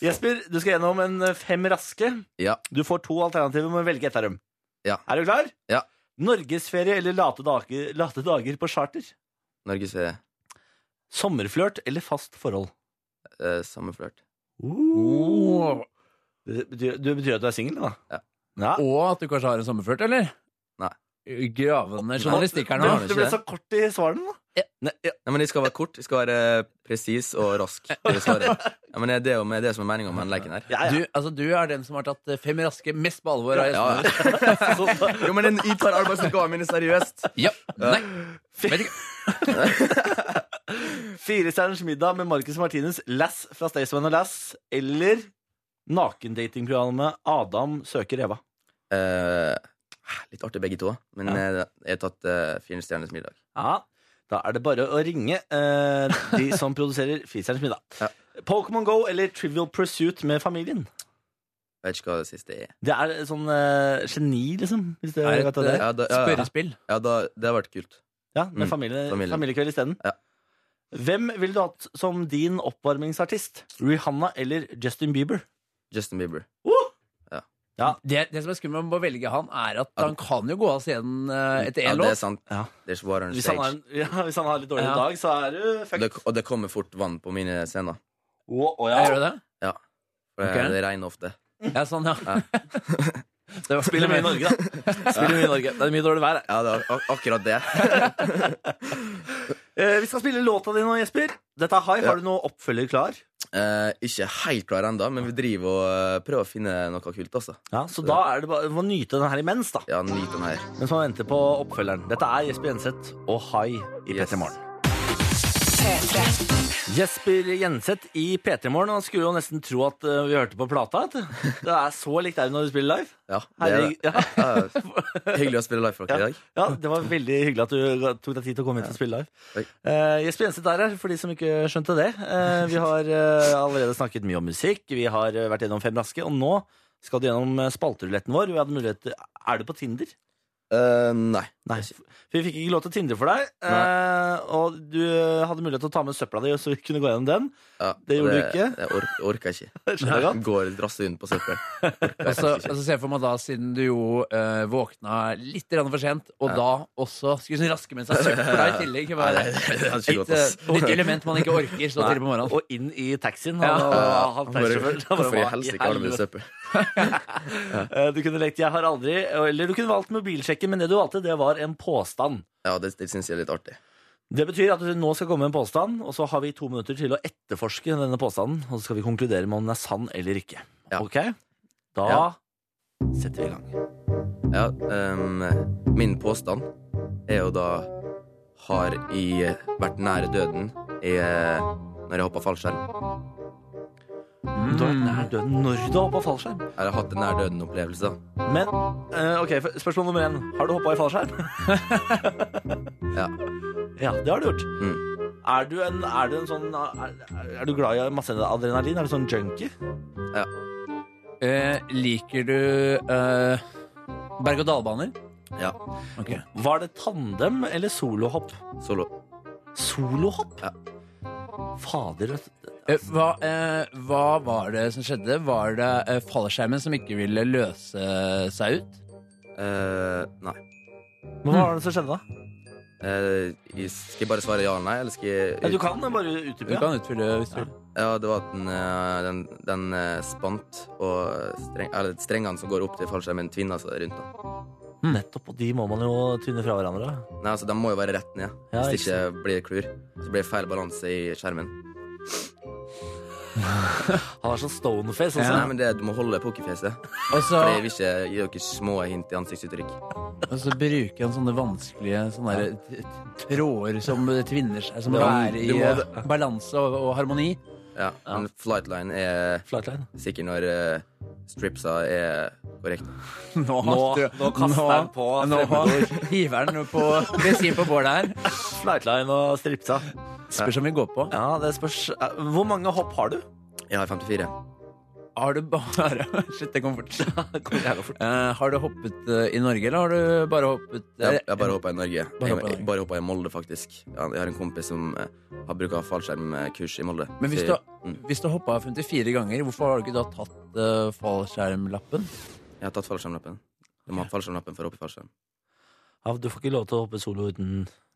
Speaker 2: Jesper, du skal gjennom en eh, fem raske.
Speaker 5: Ja.
Speaker 2: Du får to alternativer, må velge ett av dem.
Speaker 5: Ja.
Speaker 2: Er du klar?
Speaker 5: Ja.
Speaker 2: Norgesferie eller late dager, late dager på charter?
Speaker 5: Norgesferie.
Speaker 2: Sommerflørt eller fast forhold?
Speaker 5: Eh, Sommerflørt.
Speaker 3: Oh.
Speaker 2: Det betyr, det betyr at du er singel, da?
Speaker 5: Ja.
Speaker 2: Ja.
Speaker 3: Og at du kanskje har en sommerflørt, eller?
Speaker 5: Nei.
Speaker 3: Gravende journalistikk her nå.
Speaker 5: har
Speaker 2: Det,
Speaker 5: du
Speaker 2: det ble
Speaker 5: ikke det?
Speaker 2: så kort i svarene, da. Nei, ja.
Speaker 5: Nei, men jeg skal være kort. Jeg skal være eh, presis og rask. i svaret. Ja, men det er jo med det som er meninga med den leken her.
Speaker 2: Ja, ja.
Speaker 3: Du, altså, du er den som har tatt eh, fem raske mest på alvor. av
Speaker 5: Ja,
Speaker 3: gjestene.
Speaker 5: Jo, men den- jeg tar arbeidsoppgavene mine seriøst.
Speaker 3: Ja. Nei. Vet ikke.
Speaker 2: Firestjerners middag med Marcus Martinus, Lass fra Staysman og Lass, eller nakendatingprogrammet Adam søker Eva.
Speaker 5: Eh, litt artig begge to, men eh, jeg har tatt eh, Fire stjerners middag.
Speaker 2: Ja, da er det bare å ringe eh, de som produserer Firestjerners middag.
Speaker 5: Ja.
Speaker 2: Pokémon Go eller Trivial Pursuit med familien.
Speaker 5: Jeg vet ikke hva det siste er.
Speaker 2: Det er sånn eh, geni, liksom. Hvis det,
Speaker 3: Er det
Speaker 2: vet hva det er.
Speaker 5: Ja, da, ja, ja.
Speaker 3: Spørrespill.
Speaker 5: ja da, det har vært kult.
Speaker 2: Ja, med
Speaker 5: Mm,
Speaker 2: familie,
Speaker 5: familien.
Speaker 2: familiekveld isteden.
Speaker 5: Ja.
Speaker 2: Hvem ville du hatt som din oppvarmingsartist? Rihanna eller Justin Bieber?
Speaker 5: Justin Bieber.
Speaker 3: Det, det som er skummelt med å velge han, er at
Speaker 5: Ja.
Speaker 3: han kan jo gå av scenen eh, etter
Speaker 5: Ja,
Speaker 3: én
Speaker 5: det er
Speaker 3: låt.
Speaker 5: sant.
Speaker 2: Ja.
Speaker 5: There's water on
Speaker 2: Hvis han, har,
Speaker 5: stage.
Speaker 2: en- ja, hvis han har litt dårlig
Speaker 3: Ja.
Speaker 2: dag, så er du
Speaker 5: Og
Speaker 2: fucked.
Speaker 5: det, og det kommer fort vann på mine scener.
Speaker 2: Å, å ja.
Speaker 3: Gjør du det?
Speaker 5: For
Speaker 3: Ok.
Speaker 5: Det regner ofte.
Speaker 3: Ja, sånn, ja. Det var-
Speaker 2: Spiller mye i Norge, da. Spiller mye i Norge. Det er mye dårlig vær. her.
Speaker 5: Ja, det er ak akkurat det.
Speaker 2: Eh, vi skal spille låta di nå, Jesper. Dette er High. Har du noe oppfølger klar?
Speaker 5: Eh, ikke helt klar ennå, men vi driver og eh, prøver å finne noe kult, altså.
Speaker 2: Ja, Så da er det bare vi må nyte den her imens, da.
Speaker 5: Ja, nyt den her.
Speaker 2: Mens man venter på oppfølgeren. Dette er Jesper Jenseth og High i
Speaker 5: Yes.
Speaker 2: P3 Morgen. Jesper Jenseth i P3 Morgen. Han skulle jo nesten tro at eh, vi hørte på plata. vet du. Det er så likt deg når du spiller live.
Speaker 5: Ja, det er det.
Speaker 2: Herregud. Ja.
Speaker 5: Ja, hyggelig å spille live for dere i dag.
Speaker 2: Ja, Det var veldig hyggelig at du tok deg tid til å komme hit og spille live.
Speaker 5: Oi.
Speaker 2: Eh, Jesper Jenseth er her, for de som ikke skjønte det. Eh, vi har eh, allerede snakket mye om musikk, vi har eh, vært gjennom Fem raske, og nå skal du gjennom eh, spalteruletten vår. Vi hadde mulighet til, er du på Tinder?
Speaker 5: Eh, nei.
Speaker 2: Nei. For vi fikk ikke lov til å Tinder for deg, eh, og du eh, hadde mulighet til å ta med søpla di, så vi kunne gå gjennom den.
Speaker 5: Ja,
Speaker 2: Det gjorde du ikke?
Speaker 5: Det ork orker jeg ikke.
Speaker 2: Skjønner jeg godt.
Speaker 5: Går drasse rundt på søppel.
Speaker 3: Og så og så ser jeg for meg da, siden du jo eh, våkna litt grann for sent, og da også skulle sånn raske med seg søppel på deg i tillegg.
Speaker 5: Nei,
Speaker 3: Bare,
Speaker 5: det, det hadde ikke
Speaker 3: et
Speaker 5: gått, ass.
Speaker 3: eh, nytt element man ikke orker så tidlig på morgenen.
Speaker 2: Og inn i taxien.
Speaker 3: Ja.
Speaker 2: Han, han, han,
Speaker 5: Bare,
Speaker 2: taxisjåføren. Han bare,
Speaker 5: hvorfor i
Speaker 2: hva i
Speaker 5: helsike har du med
Speaker 2: helvete?
Speaker 5: deg søppel?
Speaker 2: Eh, Du kunne lekt 'Jeg har aldri', eller du kunne valgt mobilsjekken, men det du valgte, det var en påstand.
Speaker 5: Ja, det, det syns jeg er litt artig.
Speaker 2: Det betyr at det nå skal komme en påstand, og så har vi to minutter til å etterforske denne påstanden, og så skal vi konkludere med om den er sann eller ikke.
Speaker 5: Ja.
Speaker 2: Ok? Da
Speaker 5: Ja.
Speaker 2: setter vi i gang.
Speaker 5: Ja, ehm, min påstand er jo da Har jeg vært nære døden i, eh, når jeg hoppa fallskjerm?
Speaker 2: Du har vært nær døden når du har hoppa fallskjerm.
Speaker 5: Eller hatt en nær døden-opplevelse? da.
Speaker 2: Men eh, ok, f- spørsmål nummer én. Har du hoppa i fallskjerm?
Speaker 5: Ja.
Speaker 2: Ja, det har du gjort.
Speaker 5: Mm.
Speaker 2: Er, du en, er du en sånn er, er du glad i masse adrenalin? Er du sånn junkie?
Speaker 3: Eh, liker du eh, berg-og-dal-baner?
Speaker 5: Ja.
Speaker 3: Ok.
Speaker 2: Var det tandem eller solohopp?
Speaker 5: Solo.
Speaker 2: Solohopp?
Speaker 5: Ja.
Speaker 2: Fader. vet du.
Speaker 3: Eh, hva, eh, hva var det som skjedde? Var det eh, fallskjermen som ikke ville løse seg ut?
Speaker 5: Eh, nei.
Speaker 2: Men hva var det som skjedde da?
Speaker 5: Eh, jeg- skal jeg bare svare ja eller nei? Eller skal jeg
Speaker 2: Ja, du kan bare utdype.
Speaker 3: Du
Speaker 2: Ja.
Speaker 3: kan utfylle hvis du vil.
Speaker 5: Ja, det var at den, eh, den, den eh, spant, og streng, eller, strengene som går opp til fallskjermen, tvinna seg rundt. Da.
Speaker 2: Nettopp, og de må man jo tynne fra hverandre.
Speaker 5: Nei, altså, De må jo være rett ned.
Speaker 2: Ja,
Speaker 5: Hvis det
Speaker 2: ikke
Speaker 5: ikke blir det klur. Så blir det feil balanse i skjermen.
Speaker 2: Han er sånn stoneface
Speaker 5: Så,
Speaker 2: også.
Speaker 5: nei, men det, Du må holde pokerfjeset.
Speaker 3: Og så,
Speaker 5: For jeg vil ikke gi dere små hint i ansiktsuttrykk.
Speaker 3: og så bruker han sånne vanskelige sånne der, t- t- tråder som tvinner seg, som må
Speaker 5: Ja,
Speaker 3: være
Speaker 5: du
Speaker 3: i
Speaker 5: må
Speaker 3: eh, balanse og, og harmoni.
Speaker 5: Ja, Men flightline er
Speaker 2: Flatline.
Speaker 5: sikkert når eh, stripsa er korrekt.
Speaker 3: Nå,
Speaker 2: Nå- nå kaster han på
Speaker 3: Nå hiver han på bensin på bålet her.
Speaker 2: Flightline og stripsa.
Speaker 3: Spørs om vi går på.
Speaker 2: Ja, det spørs eh, Hvor mange hopp har du?
Speaker 5: Jeg har 54.
Speaker 3: Har du bare Shit, det kom fort. Eh, har du hoppet eh, i Norge, eller har du bare hoppet eh,
Speaker 5: Jeg, jeg bare hoppa i Norge.
Speaker 3: Bare hoppet i
Speaker 5: Jeg, jeg
Speaker 3: Norge.
Speaker 5: bare hoppa i Molde, faktisk. Ja, Jeg har en kompis som eh, har bruka fallskjermkurs i Molde.
Speaker 3: Men hvis
Speaker 5: Så-
Speaker 3: du,
Speaker 5: mm.
Speaker 3: hvis du hoppa 54 ganger, hvorfor har du ikke da tatt eh, fallskjermlappen?
Speaker 5: Jeg har tatt fallskjermlappen. Du må ha fallskjermlappen for å hoppe i fallskjerm.
Speaker 2: Ja, du får ikke lov til å hoppe solo uten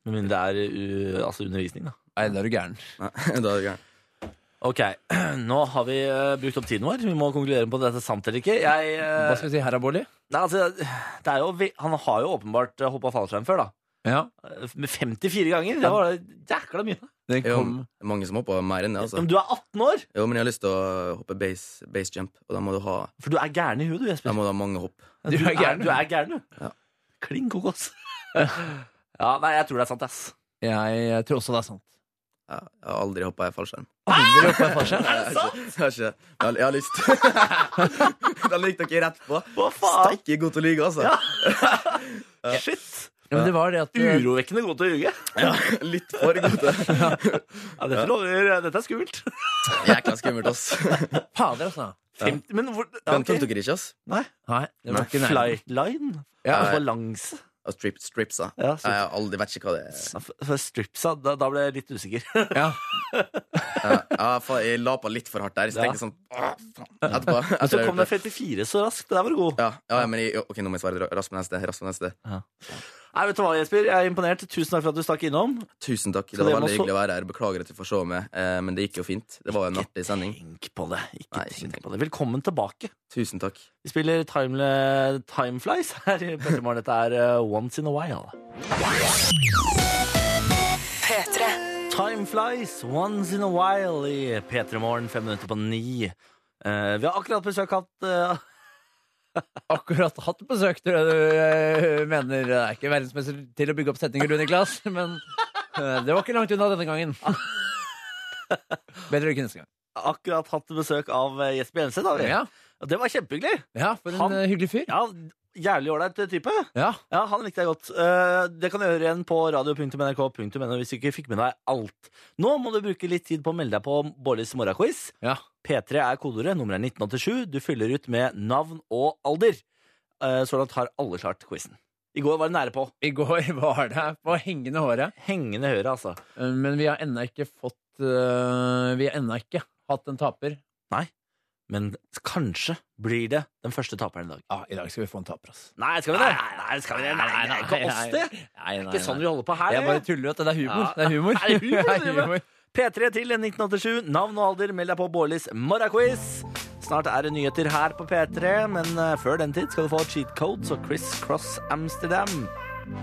Speaker 2: Med mindre det er uh, altså undervisning, da.
Speaker 3: Nei, da er du gæren.
Speaker 5: Nei, da er det gærent.
Speaker 2: Ok, nå har vi eh, brukt opp tiden vår. Vi må konkludere på om dette er sant eller ikke. Jeg, eh,
Speaker 3: Hva skal vi si her, Bolli?
Speaker 2: Nei, altså, det er jo, vi- han har jo åpenbart hoppa fallskjerm før, da. Eh,
Speaker 3: Ja,
Speaker 2: Med 54 ganger! Det var jækla mye.
Speaker 3: den
Speaker 5: Jo,
Speaker 3: kom.
Speaker 5: det er mange som hopper mer enn det, altså.
Speaker 2: Men du er 18 år,
Speaker 5: Jo, men jeg har lyst til å hoppe base, base jump, og da må du ha
Speaker 2: for du er gæren i huet, du, Jesper.
Speaker 5: Da må du ha mange hopp.
Speaker 2: Du er gæren, du. Er gæren, du.
Speaker 5: Ja.
Speaker 2: Kling kokos. ja, nei, jeg tror det er sant, ass.
Speaker 3: Jeg, eh, tror også det er sant.
Speaker 5: Ja, Jeg har aldri hoppa i fallskjerm.
Speaker 3: Aldri hoppa fallskjerm?
Speaker 5: Er det sant? Jeg har ikke Jeg har, jeg har lyst. da likte dere rett på.
Speaker 2: Hva faen?
Speaker 5: Steike god til å lyge, altså.
Speaker 2: Ja. Shit!
Speaker 3: Ja, men det var det at eh,
Speaker 2: Urovekkende god til å ljuge.
Speaker 5: Litt for god til det.
Speaker 2: Ja, dette, lover, dette er skummelt.
Speaker 5: Jækla skummelt, ass.
Speaker 3: Fader, altså.
Speaker 2: 50, men hvor ja,
Speaker 5: Den tok
Speaker 2: ok.
Speaker 5: dere ikke, ass.
Speaker 2: Nei.
Speaker 3: Nei, det var ikke nærmere.
Speaker 2: Flightline?
Speaker 3: Ja.
Speaker 2: Altså balanse?
Speaker 5: Og strip, stripsa.
Speaker 2: Ja, strip-
Speaker 5: Jeg har aldri vet ikke hva det er.
Speaker 2: Ja, for- for Stripsa? Da, da ble jeg litt usikker.
Speaker 3: Ja.
Speaker 5: Ja, ja, faen, jeg la på litt for hardt der. Så
Speaker 2: Ja.
Speaker 5: tenkte jeg sånn «Åh, faen». Etterpå.
Speaker 2: Men
Speaker 5: etter
Speaker 2: så
Speaker 5: jeg
Speaker 2: kom
Speaker 5: hørte
Speaker 2: det 54 så raskt. Der var du god.
Speaker 5: Ja, ja, men jeg, ok, nå må jeg svare raskt på neste. Raskt på neste.
Speaker 2: Nei, vet du hva, Jesper? Jeg er imponert. Tusen takk for at du stakk innom.
Speaker 5: Tusen takk. Det
Speaker 2: Så
Speaker 5: var
Speaker 2: det må
Speaker 5: veldig
Speaker 2: så-
Speaker 5: hyggelig å være her. Beklager at du får se meg, eh, men det gikk jo fint. Det var jo en artig sending.
Speaker 2: Tenk på det. Ikke
Speaker 5: Nei, ikke
Speaker 2: tenk
Speaker 5: tenk.
Speaker 2: på det. Velkommen tilbake.
Speaker 5: Tusen takk.
Speaker 2: Vi spiller Timeflies time Flies her i Petter Morgen. Dette er eh, Once in a While.
Speaker 4: P3.
Speaker 2: Time Flies, Once in a While i P3 Morgen, fem minutter på ni. Eh, vi har akkurat besøk hatt eh,
Speaker 3: Akkurat hatt besøk, tror jeg du eh, mener. Det er ikke verdensmester til å bygge opp setninger, du, Niklas. Men eh, det var ikke langt unna denne gangen. Bedre lykke neste gang.
Speaker 2: Akkurat hatt besøk av eh, Jesper Jenseth. har vi.
Speaker 3: Ja,
Speaker 2: Og Det var kjempehyggelig!
Speaker 3: ja for en
Speaker 2: Han-
Speaker 3: eh, hyggelig fyr.
Speaker 2: Ja, Jævlig åleit type.
Speaker 3: Ja.
Speaker 2: Ja, Han likte jeg godt. Eh, det kan du høre igjen på radio.nrk.no hvis du ikke fikk med deg alt. Nå må du bruke litt tid på å melde deg på Bårdis morgenquiz.
Speaker 3: Ja.
Speaker 2: P3 er kodeordet, nummeret er 1987. Du fyller ut med navn og alder. Eh, Så langt har alle klart quizen. I går var det nære på.
Speaker 3: I går var det på hengende håret,
Speaker 2: Hengende høre, altså.
Speaker 3: eh, men vi har ennå ikke fått eh, Vi har ennå ikke hatt en taper.
Speaker 2: Men kanskje blir det den første taperen i dag.
Speaker 3: Ja, I dag skal vi få en taper, ass.
Speaker 2: Nei, skal vi det? Nei, skal vi det? Nei, nei, ikke oss, det.
Speaker 3: Nei, nei,
Speaker 2: Ikke sånn vi holder på
Speaker 3: Jeg
Speaker 2: her.
Speaker 3: bare tuller. vet du. Det er humor.
Speaker 2: Ja.
Speaker 3: Det er humor.
Speaker 2: Det er humor,
Speaker 3: Det er
Speaker 2: det er humor. P3 til 1987. Navn og alder, meld deg på Bårlis morgenquiz. Snart er det nyheter her på P3, men eh, før den tid skal du få cheat codes og Criss Cross Amsterdam.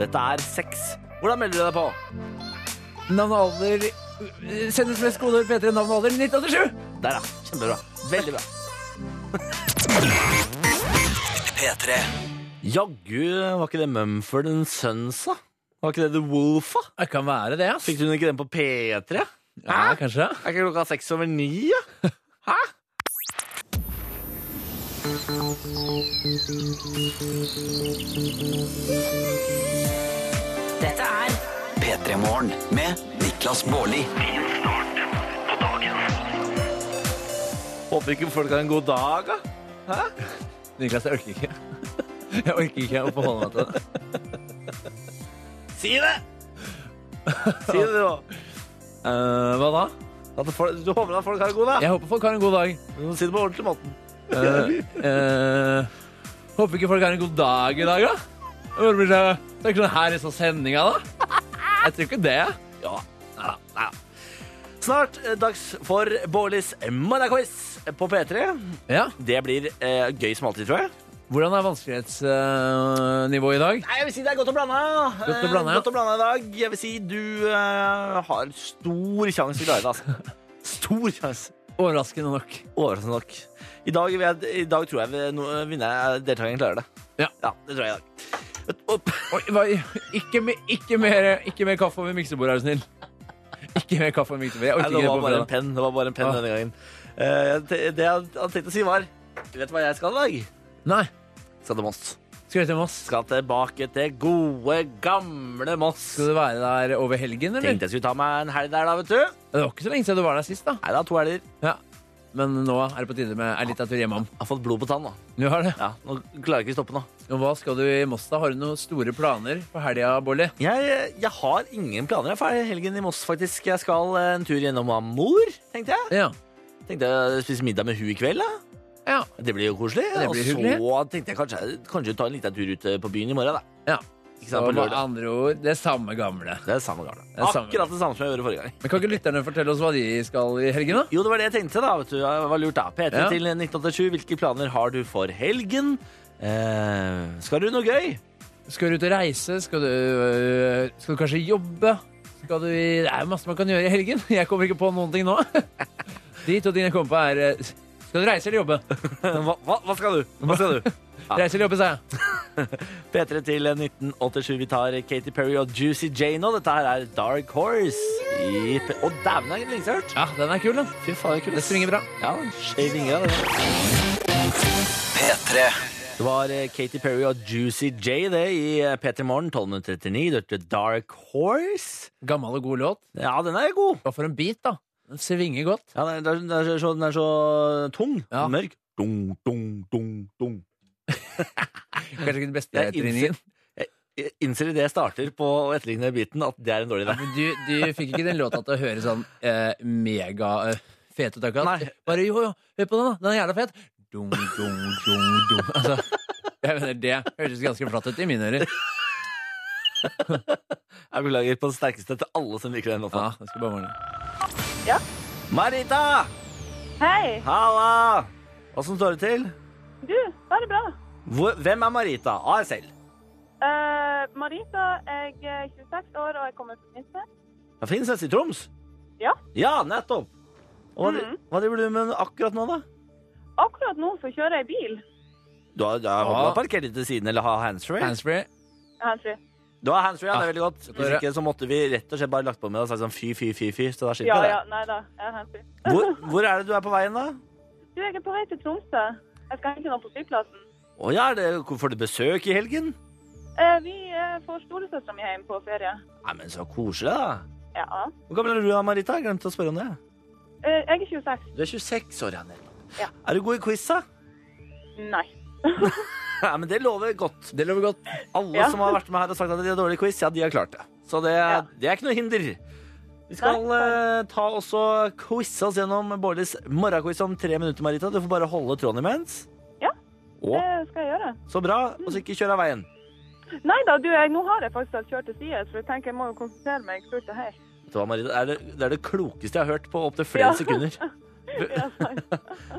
Speaker 2: Dette er sex. Hvordan melder du deg på?
Speaker 3: Navn og alder Sendes med skoleår P3 navn og alder 1987!
Speaker 2: Der, ja. Kjempebra. Veldig bra.
Speaker 1: P3.
Speaker 2: Jaggu, var ikke det Mumford and Sons, da? Var ikke det The Wolf, da?
Speaker 3: Det kan være det, ass.
Speaker 2: Fikk du ikke den på P3?
Speaker 3: Ja, kanskje.
Speaker 2: Er ikke klokka seks over ni, ja? Hæ?
Speaker 4: Dette er
Speaker 1: P3 Morgen med Niklas Baarli.
Speaker 2: Håper ikke folk har en god dag, da.
Speaker 3: Niklas, jeg orker ikke. Jeg orker ikke å forholde meg til det.
Speaker 2: Si det! Si det, du òg.
Speaker 3: Eh, hva da?
Speaker 2: At folk- Du håper at folk har en god dag?
Speaker 3: Jeg håper folk har en god dag.
Speaker 2: Du må si det på ordentlig måten.
Speaker 3: Eh, eh, håper ikke folk har en god dag i dag, da. Det blir så, det er ikke sånn her i sånn sendinga, da. Jeg tror ikke det.
Speaker 2: Ja. Neida, neida. Snart eh, dags for Bårlis morgenquiz på P3.
Speaker 3: Ja.
Speaker 2: Det blir eh, gøy som alltid, tror jeg.
Speaker 3: Hvordan er vanskelighetsnivået i dag?
Speaker 2: Nei, jeg vil si det er godt å blande.
Speaker 3: Godt å blande,
Speaker 2: Eh,
Speaker 3: ja.
Speaker 2: godt å blande i dag. Jeg vil si du eh, har stor sjanse til å klare det, altså. Stor sjanse.
Speaker 3: Overraskende nok.
Speaker 2: Overraskende nok. I dag, vil jeg, I dag tror jeg vi- no- vinner- deltakeren klarer det.
Speaker 3: Ja.
Speaker 2: det tror jeg i dag. Opp.
Speaker 3: Oi, hva, ikke, me- ikke, mer, ikke mer kaffe over miksebordet, er du snill. Ikke mer kaffe over miksebordet.
Speaker 2: Nei,
Speaker 3: Jeg orker
Speaker 2: det
Speaker 3: ikke det
Speaker 2: var
Speaker 3: på
Speaker 2: bare en
Speaker 3: fredag.
Speaker 2: penn, det var bare en penn
Speaker 3: Ah.
Speaker 2: denne gangen. Eh, jeg te- det jeg hadde tenkt å si, var Vet du hva jeg skal i dag?
Speaker 3: Nei.
Speaker 2: Skal til Moss.
Speaker 3: Skal du til Moss?
Speaker 2: Skal tilbake til gode, gamle Moss.
Speaker 3: Skal du være der over helgen, eller?
Speaker 2: Tenkte jeg skulle ta meg en helg der, da, vet du.
Speaker 3: Det var ikke så lenge siden du var der sist, da.
Speaker 2: Nei da, to helger.
Speaker 3: Ja. Men nå er det på tide med ei lita tur hjemom.
Speaker 2: Jeg har fått blod på tann, da.
Speaker 3: Du har det.
Speaker 2: Ja, nå klarer jeg ikke å stoppe nå.
Speaker 3: Og hva skal du i Moss, da? Har du noen store planer på helga, Bolli?
Speaker 2: Jeg, jeg har ingen planer jeg, for helgen i Moss, faktisk. Jeg skal eh, en tur gjennom Amor, tenkte jeg.
Speaker 3: Ja.
Speaker 2: Tenkte jeg spise middag med hun i kveld, da.
Speaker 3: Ja.
Speaker 2: Det blir jo koselig.
Speaker 3: Det blir hyggelig.
Speaker 2: Og så tenkte jeg kanskje, kanskje ta en liten tur ut eh, på byen i morgen, da.
Speaker 3: ja.
Speaker 2: Ikke
Speaker 3: Så
Speaker 2: sant, på
Speaker 3: med
Speaker 2: lørdag.
Speaker 3: andre ord, det er samme gamle.
Speaker 2: Det er samme gamle.
Speaker 3: er samme
Speaker 2: Akkurat det samme som jeg gjorde forrige gang.
Speaker 3: Men kan ikke lytterne fortelle oss hva de skal i helgen, da?
Speaker 2: Jo, det var det jeg tenkte, da. vet du. Det var lurt, da. P3
Speaker 3: Ja.
Speaker 2: til 1987. Hvilke planer har du for helgen? Eh, skal du noe gøy?
Speaker 3: Skal du ut og reise? Skal du, øh, skal du kanskje jobbe? Skal du, i- det er jo masse man kan gjøre i helgen. Jeg kommer ikke på noen ting nå. De to tingene jeg kommer på, er øh, Skal du reise eller jobbe?
Speaker 2: Hva, hva, hva skal du? Hva skal du?
Speaker 3: Reise eller jobbe, sa jeg.
Speaker 2: P3 til 1987. Vi tar Katy Perry og Juicy J nå. Dette her er Dark Horse. I P Å, dæven, det er lenge siden jeg har hørt.
Speaker 3: Ja, den er kul, den.
Speaker 2: Fy faen, det er kult.
Speaker 3: Det springer bra.
Speaker 2: Ja, det er skjev vinge, det der.
Speaker 1: P3.
Speaker 2: Det var eh, Katy Perry og Juicy J det i eh, P3 Morgen 12.39. Du hørte Dark Horse.
Speaker 3: Gammel og god låt.
Speaker 2: Ja, den er god.
Speaker 3: Hva for en beat, da. Den svinger godt.
Speaker 2: Ja, den er, den er, så, den er så tung.
Speaker 3: Ja.
Speaker 2: Mørk. Dung, dung, dung, dung.
Speaker 3: Kanskje ikke den beste
Speaker 2: Jeg
Speaker 3: etterligningen.
Speaker 2: Jeg innser idet jeg starter på å etterligne biten, at det er en dårlig idé.
Speaker 3: Men Du, du fikk ikke den låta til å høre sånn eh, mega eh, fet ut akkurat?
Speaker 2: Nei.
Speaker 3: Bare jo, jo, hør på den, da. Den er jævla fet. Dum, dum, dum, dum. Altså, jeg mener, det hørtes ganske flatt ut i mine ører.
Speaker 2: Jeg beklager på det sterkeste til alle som liker den låta.
Speaker 3: Ja, det skal bare mangle.
Speaker 2: Marita!
Speaker 6: Hei!
Speaker 2: Halla! Åssen står det til?
Speaker 6: Du, da er det bra.
Speaker 2: Hvor, hvem er Marita? ASL?
Speaker 6: Eh, Marita, jeg er 26 år og jeg kommer fra Minse.
Speaker 2: Det finnes nest i Troms?
Speaker 6: Ja.
Speaker 2: Ja, nettopp. Og hva, dri-
Speaker 6: Mhm.
Speaker 2: hva driver du med akkurat nå, da?
Speaker 6: Akkurat nå så kjører jeg bil.
Speaker 2: Du har, du har,
Speaker 3: Ja.
Speaker 2: du har parkert litt til siden, eller har handsfree?
Speaker 3: Handsfree.
Speaker 6: Handsfree.
Speaker 2: Du har handsfree, ja, det er veldig godt.
Speaker 3: det
Speaker 2: Hvis
Speaker 3: er-
Speaker 2: ikke så måtte vi rett og slett bare lagt på med og sagt sånn fy, fy, fy, fy. Så da
Speaker 6: Ja,
Speaker 2: slipper vi
Speaker 6: ja,
Speaker 2: det.
Speaker 6: nei da, jeg er handsfree.
Speaker 2: Hvor, hvor er det du er på veien, da?
Speaker 6: Du, jeg er på vei til Tromsø. Jeg skal hente noe på flyplassen.
Speaker 2: Å ja, er det, får du besøk i helgen?
Speaker 6: Eh, vi eh, får storesøstera mi hjem på ferie.
Speaker 2: Nei, men så koselig, da.
Speaker 6: Ja.
Speaker 2: Hvor gammel er du, da, Marita? Jeg glemte å spørre om det.
Speaker 6: Eh, jeg er 26.
Speaker 2: Du er 26 år, ja. nettopp.
Speaker 6: Ja.
Speaker 2: Er du god i quiz, da?
Speaker 6: Nei.
Speaker 2: Ja, men det lover godt.
Speaker 3: Det lover godt.
Speaker 2: Alle
Speaker 6: Ja.
Speaker 2: som har vært med her og sagt at de har dårlig quiz, ja, de har klart det. Så det,
Speaker 6: Ja.
Speaker 2: det er ikke noe hinder. Vi skal
Speaker 6: Nei,
Speaker 2: eh, ta også quize oss gjennom Bårdis morgenquiz om tre minutter, Marita. Du får bare holde tråden imens.
Speaker 6: Ja.
Speaker 2: Å,
Speaker 6: Det skal jeg gjøre.
Speaker 2: så bra. Og så ikke kjør av veien.
Speaker 6: Nei da, du, jeg, nå har jeg faktisk kjørt til side, for jeg tenker jeg må jo konsentrere meg fullt og helt.
Speaker 2: Vet du hva, Marita? Det er det, det er det klokeste jeg har hørt på opptil flere
Speaker 6: Ja.
Speaker 2: sekunder.
Speaker 6: Ja, sant.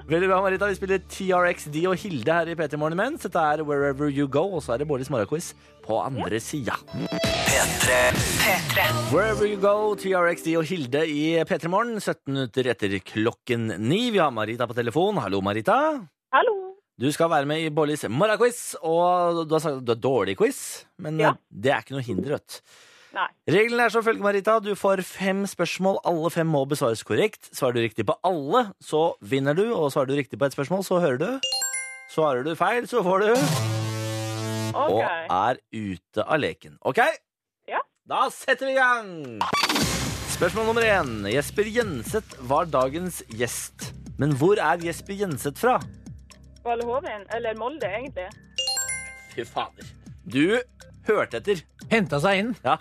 Speaker 2: Veldig bra, Marita. Vi spiller TRXD og Hilde her i P3 Morgen imens. Dette er Wherever You Go, og så er det Bårdis morgenquiz på andre sida.
Speaker 1: P3.
Speaker 2: Wherever You Go, TRXD og Hilde i P3 Morgen, 17 minutter etter klokken ni. Vi har Marita på telefon. Hallo, Marita.
Speaker 6: Hallo.
Speaker 2: Du skal være med i Bollis morgenquiz, og du har sagt at du er dårlig i quiz, men
Speaker 6: Ja.
Speaker 2: eh, det er ikke noe hinder, vet du.
Speaker 6: Nei.
Speaker 2: Reglene er som følger, Marita. Du får fem spørsmål. Alle fem må besvares korrekt. Svarer du riktig på alle, så vinner du. Og svarer du riktig på ett spørsmål, så hører du. Svarer du feil, så får du. Og
Speaker 6: OK.
Speaker 2: er ute av leken. OK?
Speaker 6: Ja.
Speaker 2: Da setter vi i gang. Spørsmål nummer én. Jesper Jenseth var dagens gjest. Men hvor er Jesper Jenseth fra?
Speaker 6: Valle Hovin, eller Molde, egentlig.
Speaker 2: Fy fader. Du hørte etter.
Speaker 3: Henta seg inn.
Speaker 2: Ja.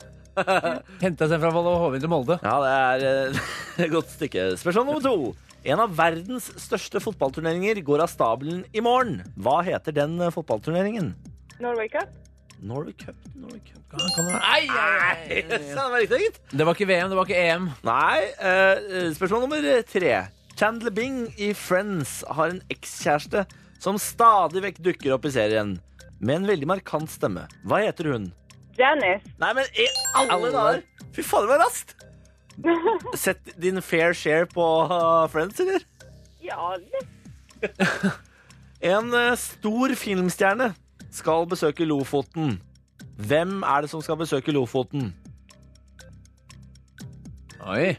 Speaker 3: Henta seg fra Volle og Hovin til Molde.
Speaker 2: Ja, det er eh, et godt stykke. Spørsmål nummer to. En av verdens største fotballturneringer går av stabelen i morgen. Hva heter den eh, fotballturneringen?
Speaker 6: Norway Cup.
Speaker 2: Norway Cup, Norway Cup
Speaker 3: Ai, ai,
Speaker 2: Ja, det var riktig, gitt.
Speaker 3: Det var ikke VM, det var ikke E EM.
Speaker 2: Nei. eh, spørsmål nummer tre. Chandler Bing i Friends har en ekskjæreste som stadig vekk dukker opp i serien. Med en veldig markant stemme. Hva heter hun?
Speaker 6: Janice.
Speaker 2: Nei, men i alle
Speaker 3: Alle.
Speaker 2: dager! Fy fader, det var raskt! Sett din fair share på eh, Friends, eller?
Speaker 6: Ja, litt.
Speaker 2: En eh, stor filmstjerne skal besøke Lofoten. Hvem er det som skal besøke Lofoten?
Speaker 3: Oi,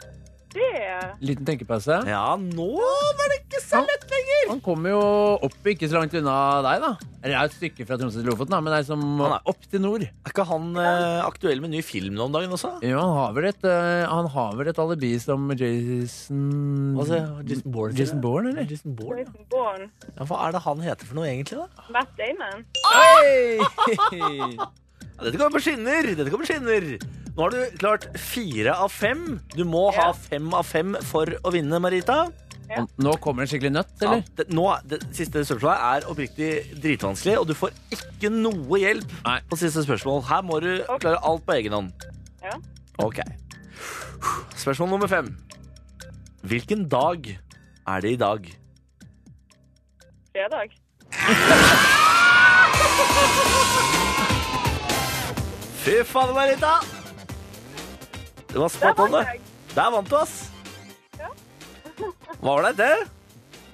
Speaker 6: det.
Speaker 3: Liten tenkepause.
Speaker 2: Ja, nå var det ikke så lett lenger!
Speaker 3: Han kommer jo opp ikke så langt unna deg, da. Eller det er et stykke fra Tromsø til Lofoten, da, men det er som
Speaker 2: Han er
Speaker 3: opp til nord.
Speaker 2: Er ikke han eh, aktuell med ny film nå om dagen også?
Speaker 3: Jo, han har vel et, eh, han har vel et alibi som Jason
Speaker 2: Altså, Jason Bourne,
Speaker 3: Jason
Speaker 2: sier jeg.
Speaker 3: Bourne, eller?
Speaker 2: Jason Bourne?
Speaker 6: Jason Bourne.
Speaker 2: Ja, hva er det han heter for noe egentlig, da?
Speaker 6: Matt Damon.
Speaker 3: Oi!
Speaker 2: Ja, dette går på skinner! Dette går på skinner! Nå har du klart fire av fem. Du må ha
Speaker 6: Ja.
Speaker 2: fem av fem for å vinne, Marita.
Speaker 6: Ja.
Speaker 3: Nå kommer det en skikkelig nøtt,
Speaker 2: Ja,
Speaker 3: eller?
Speaker 2: det, nå, er- det siste spørsmålet er oppriktig dritvanskelig, og du får ikke noe hjelp
Speaker 3: Nei.
Speaker 2: på siste spørsmål. Her må du
Speaker 6: Ok.
Speaker 2: klare alt på egen hånd.
Speaker 6: Ja.
Speaker 2: Ok. Spørsmål nummer fem. Hvilken dag er det i dag?
Speaker 6: Fredag.
Speaker 2: Fy faen, Marita! Det var
Speaker 6: Der
Speaker 2: spot on,
Speaker 6: vant
Speaker 2: det.
Speaker 6: jeg.
Speaker 2: Der vant du, ass.
Speaker 6: Ja.
Speaker 2: Var det det?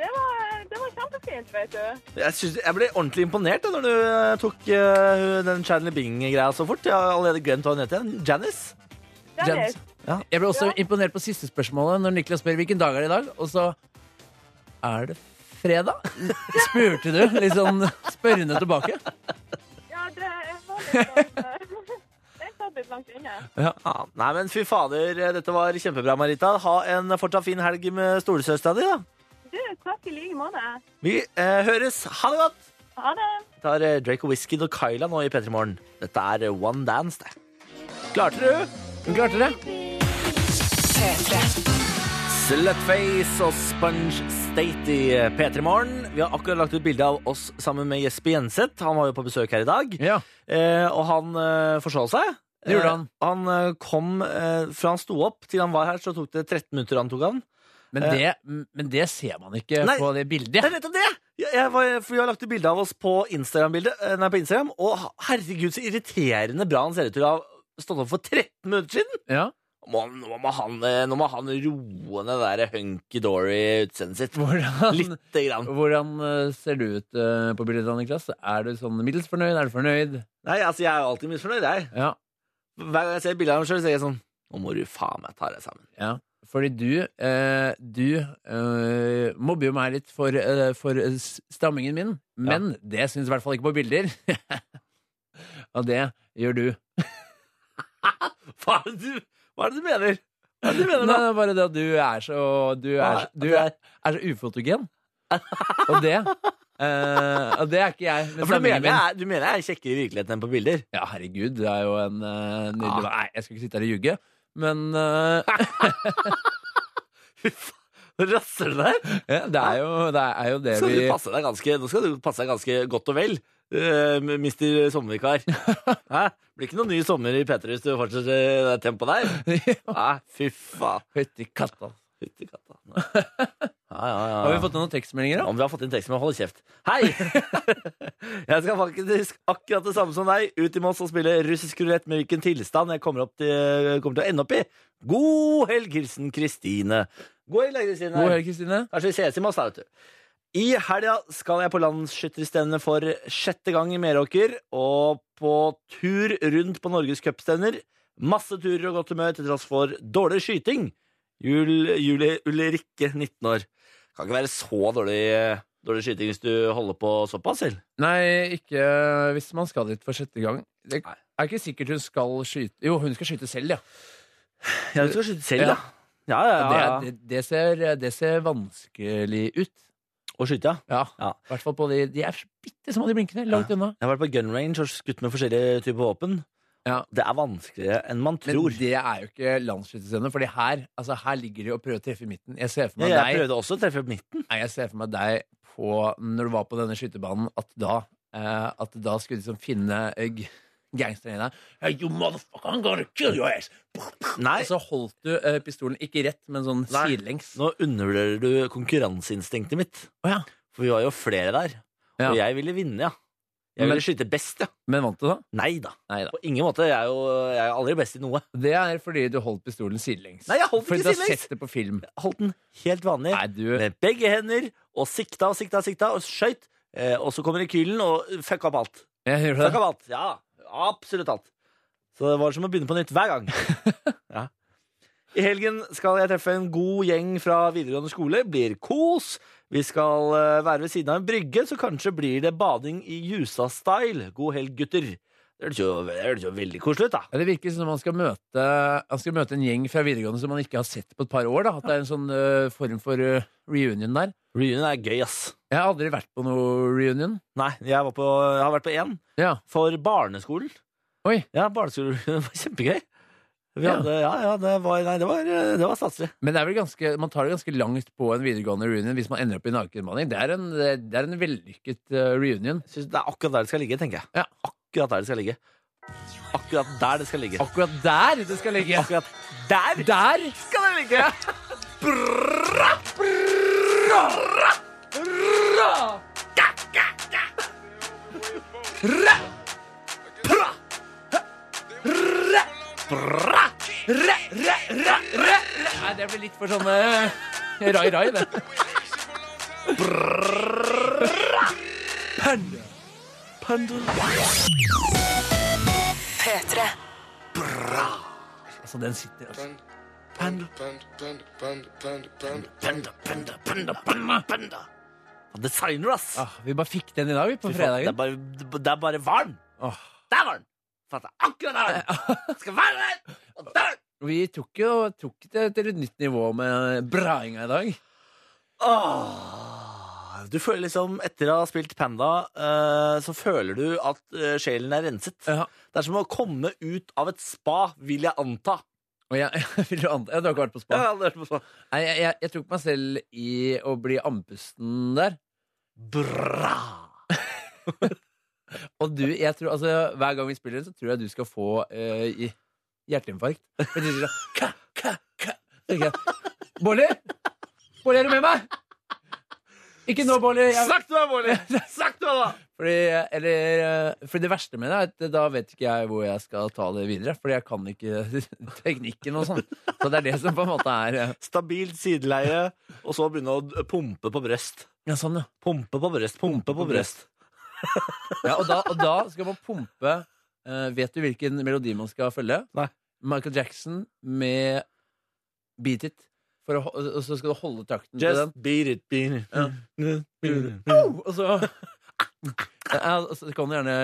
Speaker 6: Det var, det var kjempefint, vet du.
Speaker 2: Jeg, synes, jeg ble ordentlig imponert da når du eh, tok eh, den Chandler Bing-greia så fort. Jeg har allerede glemt hva hun heter. igjen. Janice?
Speaker 6: Janice.
Speaker 3: Jeg ble også
Speaker 6: Ja.
Speaker 3: imponert på siste spørsmålet, når Niklas spør hvilken dag er det i dag, og så Er det fredag? Spurte du litt sånn spørrende tilbake?
Speaker 6: Ja, det var litt sånn eh, Jeg satt litt langt inne.
Speaker 2: Ja, nei, men fy fader, eh, dette var kjempebra, Marita. Ha en fortsatt fin helg med stolesøstera di, da.
Speaker 6: Du, takk i like måte.
Speaker 2: Vi eh, høres. Ha det godt!
Speaker 6: Ha det.
Speaker 2: Vi tar eh, Drake og Whisky og Kyla nå i P3 Morgen. Dette er eh, One Dance, det. Klarte du?
Speaker 3: Hun klarte det.
Speaker 2: Slutface og Sponge State i eh, P3 Morgen. Vi har akkurat lagt ut bilde av oss sammen med Jesper Jenseth. Han var jo på besøk her i dag.
Speaker 3: Ja.
Speaker 2: Eh, og han eh, forsov seg.
Speaker 3: Det gjorde han.
Speaker 2: Eh, han eh, kom eh, fra han sto opp til han var her, så tok det 13 minutter han tok han.
Speaker 3: Men det, men det ser man ikke
Speaker 2: Eh. Nei.
Speaker 3: på det bildet.
Speaker 2: Det er nettopp det! Jeg, jeg, var, for Vi har lagt ut bilde av oss på Instagram, nei, på Instagram, og herregud, så irriterende bra han ser ut til å ha stått opp for 13 minutter siden!
Speaker 3: Ja.
Speaker 2: Må, han- nå, må han, eh, nå må han roe ned det der hunky-dory-utseendet sitt.
Speaker 3: Hvordan,
Speaker 2: Lite grann.
Speaker 3: hvordan eh, ser du ut eh, på bildet, Niklas? Er du sånn middels fornøyd? Er du fornøyd?
Speaker 2: Nei, altså, jeg er jo alltid misfornøyd, jeg.
Speaker 3: Ja.
Speaker 2: Hver gang jeg ser bilde av meg sjøl, sier jeg sånn Nå må du faen meg ta deg sammen.
Speaker 3: ja. Fordi du, eh, du eh, mobber jo meg litt for, eh, for eh, s- strammingen min, men det syns i hvert fall ikke på bilder. Og det gjør du.
Speaker 2: Hva er det du, hva er det du mener? Hva er det du
Speaker 3: Nei,
Speaker 2: mener
Speaker 3: det
Speaker 2: nå?
Speaker 3: er bare det at du er så Du er,
Speaker 2: Hva?
Speaker 3: så- du er, er så ufotogen. Og det eh, Og det er ikke
Speaker 2: Ja,
Speaker 3: jeg.
Speaker 2: for du,
Speaker 3: Med strammingen
Speaker 2: mener
Speaker 3: min.
Speaker 2: jeg, du mener jeg er kjekkere i virkeligheten enn på bilder?
Speaker 3: Ja, herregud, det er jo en eh,
Speaker 2: Ah.
Speaker 3: nydelig Nei, jeg skal ikke sitte her og ljuge, men eh,
Speaker 2: Fy faen, rasser du deg?
Speaker 3: ja, det, er jo, det er jo det
Speaker 2: skal
Speaker 3: vi
Speaker 2: du passe deg ganske, nå skal du passe deg ganske godt og vel, eh, mister sommervikar. Hæ? Blir ikke noen ny eh, sommer i P3 hvis du fortsetter i det tempoet der. Nei, fy faen.
Speaker 3: Fytti katta.
Speaker 2: Fytti katta. Ja, ja, ja.
Speaker 3: Har vi fått noen tekstmeldinger, da?
Speaker 2: Om vi har fått inn tekst med Hold kjeft. Hei! jeg skal faktisk akkurat det samme som deg ut i Moss og spille russisk rulett med hvilken tilstand jeg kommer, opp til, kommer til å ende opp i. God helg, hilsen Kristine. God helg, da, Kristine.
Speaker 3: God helg, Kristine.
Speaker 2: Kanskje vi ses i Moss, da, vet du. I helga skal jeg på landsskytterstevne for sjette gang i Meråker, og på tur rundt på Norges cupstevner. Masse turer og godt humør til tross for dårlig skyting. Jul, Julie Ulrikke, 19 år. Kan ikke være så dårlig, dårlig skyting hvis du holder på såpass, selv.
Speaker 3: Nei, ikke hvis man skal dit for sjette gang. Det er ikke sikkert hun skal skyte Jo, hun skal skyte selv, ja.
Speaker 2: Ja, du skal skyte selv,
Speaker 3: Ja.
Speaker 2: da. Ja, ja, ja. ja.
Speaker 3: Det, det, det, ser, det ser vanskelig ut.
Speaker 2: Og skyte, ja.
Speaker 3: Ja.
Speaker 2: Ja.
Speaker 3: I hvert fall på de De er bitte små, de blinkene. Langt unna.
Speaker 2: Jeg har vært på gun range og skutt med forskjellige typer våpen.
Speaker 3: Ja.
Speaker 2: Det er vanskeligere enn man
Speaker 3: Men
Speaker 2: tror.
Speaker 3: det er jo ikke landsskytterstevne, Fordi her, altså, her ligger det å prøve å treffe i midten. Jeg ser for
Speaker 2: Ja,
Speaker 3: meg
Speaker 2: jeg
Speaker 3: deg
Speaker 2: prøvde også å treffe midten.
Speaker 3: Nei, jeg ser for meg deg på, når du var på denne skytebanen, at da, eh, at da skulle du liksom finne eh, g- gangsteren i deg. Hey, you motherfucker, I'm gonna kill your ass!
Speaker 2: Nei,
Speaker 3: Og så holdt du eh, pistolen ikke rett, men sånn
Speaker 2: Nei.
Speaker 3: sidelengs.
Speaker 2: nå undervurderer du konkurranseinstinktet mitt.
Speaker 3: Å ja.
Speaker 2: For vi var jo flere der.
Speaker 3: Ja.
Speaker 2: Og jeg ville vinne, ja. Jeg
Speaker 3: Men-
Speaker 2: ville skyte best, ja.
Speaker 3: Men vant du, da?
Speaker 2: Nei da.
Speaker 3: Nei da.
Speaker 2: På ingen måte. Jeg er jo jeg er aldri best i noe.
Speaker 3: Det er fordi du holdt pistolen sidelengs.
Speaker 2: Nei, jeg holdt
Speaker 3: fordi
Speaker 2: ikke
Speaker 3: du har
Speaker 2: sidelengs.
Speaker 3: sett det på film.
Speaker 2: Jeg Holdt den helt vanlig
Speaker 3: Nei, du
Speaker 2: med begge hender og sikta og sikta og sikta og skøyt. Eh, og så kommer rekylen og fucka opp alt.
Speaker 3: jeg hører
Speaker 2: Fucka
Speaker 3: det.
Speaker 2: opp alt. Ja, absolutt alt. Så det var som å begynne på nytt hver gang. Ja. I helgen skal jeg treffe en god gjeng fra videregående skole. Blir kos. Vi skal eh, være ved siden av en brygge, så kanskje blir det bading i Jusa-style. God helg, gutter. Det høres jo, det høres jo veldig koselig ut, da.
Speaker 3: Ja, det virker som om man skal, møte, man skal møte en gjeng fra videregående som man ikke har sett på et par år. Da. At det er en sånn eh, form for eh, reunion der.
Speaker 2: Reunion er gøy, ass.
Speaker 3: Jeg har aldri vært på noe reunion.
Speaker 2: Nei, jeg, var på, jeg har vært på én.
Speaker 3: Ja.
Speaker 2: For barneskolen.
Speaker 3: Oi.
Speaker 2: Ja, barneskolen var kjempegøy. Vi
Speaker 3: Ja.
Speaker 2: hadde, ja, ja, det var, nei, det var, eh, det var statslig.
Speaker 3: Men det er vel ganske, man tar det ganske langt på en videregående reunion hvis man ender opp i nakenbemanning. Det er en, det er en vellykket eh, reunion.
Speaker 2: Jeg synes Det er akkurat der det skal ligge, tenker jeg.
Speaker 3: Ja.
Speaker 2: Akkurat der det skal ligge. Akkurat der det skal ligge.
Speaker 3: Akkurat der det skal ligge!
Speaker 2: Akkurat der
Speaker 3: Der!
Speaker 2: skal det ligge!
Speaker 3: Nei, det blir litt for sånn eh, rai-rai, det.
Speaker 4: P3.
Speaker 3: Altså, den sitter, altså.
Speaker 2: Panda, panda, panda, panda, panda. Han Designer, ass!
Speaker 3: Ah, vi bare fikk den i dag, vi, på
Speaker 2: Fy faen, Det er
Speaker 3: fredagen. Ah.
Speaker 2: bare, det er bare varm.
Speaker 3: Åh.
Speaker 2: Der var den! Fatta, akkurat der var den! Skal være der! Og der!
Speaker 3: Vi tok jo tok det til et nytt nivå med brainga i dag.
Speaker 2: Åh, du føler liksom, etter å ha spilt Panda, eh, så føler du at eh, sjelen er renset.
Speaker 3: Ja.
Speaker 2: Det er som å komme ut av et spa, vil jeg anta.
Speaker 3: Og jeg, vil du anta Jeg har ikke vært på spa.
Speaker 2: Jeg har aldri hørt på spa.
Speaker 3: Nei, jeg, jeg, jeg tok meg selv i å bli andpusten der.
Speaker 2: Bra!
Speaker 3: Og du, jeg tror, altså, hver gang vi spiller, så tror jeg du skal få eh, i- hjerteinfarkt. For du sier sånn ka, ka, ka. Så tenker jeg, Bolli! Bolli, er du med meg? Ikke nå, Bolli. Jeg,
Speaker 2: Snakk til meg, Bårli! Snakk til meg, da!
Speaker 3: fordi, eller, eh, fordi det verste med det er at da vet ikke jeg hvor jeg skal ta det videre. Fordi jeg kan ikke teknikken og sånn. Så det er det som på en måte er eh,
Speaker 2: Stabilt sideleie, og så begynne å d- pumpe på brøst.
Speaker 3: Ja, sånn, ja.
Speaker 2: Pumpe på brøst, pumpe på brøst.
Speaker 3: Ja, og, da, og da skal man pumpe eh, Vet du hvilken melodi man skal følge?
Speaker 2: Nei.
Speaker 3: Michael Jackson med Beat It. For å, ho- og så skal du holde takten til
Speaker 2: Just
Speaker 3: den.
Speaker 2: beat it, beat it.
Speaker 3: Ja.
Speaker 2: Beat it.
Speaker 3: Au! Og så ja, og Så kan du gjerne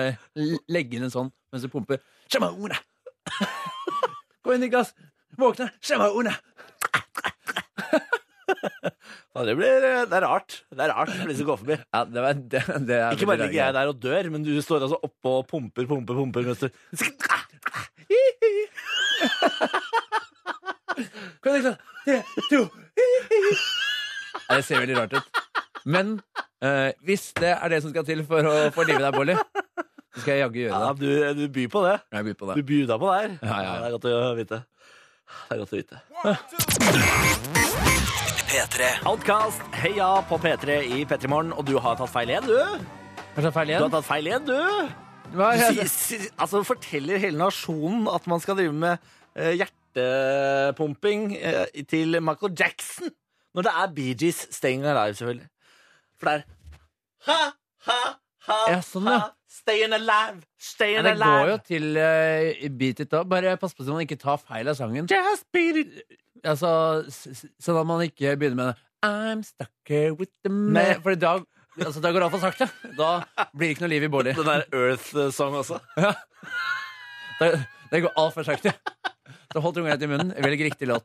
Speaker 3: l- legge inn en sånn mens du pumper. Shamauna! Gå inn i glass! Våkne! Shamauna!
Speaker 2: Ja, det, blir, eh, det er rart. Det er rart for de som går forbi.
Speaker 3: Ja, det var, det, det er
Speaker 2: Ikke bare
Speaker 3: veldig
Speaker 2: ligger jeg
Speaker 3: rart.
Speaker 2: der og dør, men du står altså oppå og pumper, pumper, pumper mens du
Speaker 3: Gå inn i glass! liksom- Tre, to ja, Det ser veldig rart ut. Men eh, hvis det er det som skal til for å få livet deg, Bolly, så skal jeg jaggu gjøre
Speaker 2: Ja,
Speaker 3: det.
Speaker 2: du, du byr på det.
Speaker 3: Jeg byr på
Speaker 2: Du
Speaker 3: det.
Speaker 2: bjuda på det her.
Speaker 3: Ja, ja, ja.
Speaker 2: Det er godt å vite. Det er godt å vite.
Speaker 1: P3.
Speaker 2: Outcast, heia på P3 i P3 Morgen. Og du har tatt feil igjen, du.
Speaker 3: Hva er det feil
Speaker 2: Du har
Speaker 3: igjen?
Speaker 2: tatt feil igjen, du.
Speaker 3: Hva
Speaker 2: Du
Speaker 3: heter-
Speaker 2: sier- sier- altså, forteller hele nasjonen at man skal drive med eh, hjertepumping eh, til Michael Jackson når det er Bee Gees Staying Alive, selvfølgelig. For det er ha, ha, ha,
Speaker 3: Ja, sånn, ja.
Speaker 2: ha, staying alive, staying
Speaker 3: Men det
Speaker 2: alive.
Speaker 3: går jo til eh, Beat It Up. Bare pass på så man ikke tar feil av sangen.
Speaker 2: Just beat it.
Speaker 3: Altså, s- s- sånn at man ikke begynner med I'm stuck here with the man For da, altså, da går det altfor sakte. Da blir det ikke noe liv i Bårli.
Speaker 2: Den der Earth-song også.
Speaker 3: Da- Det går altfor sakte. Så hold tunga rett i munnen. Velg riktig låt.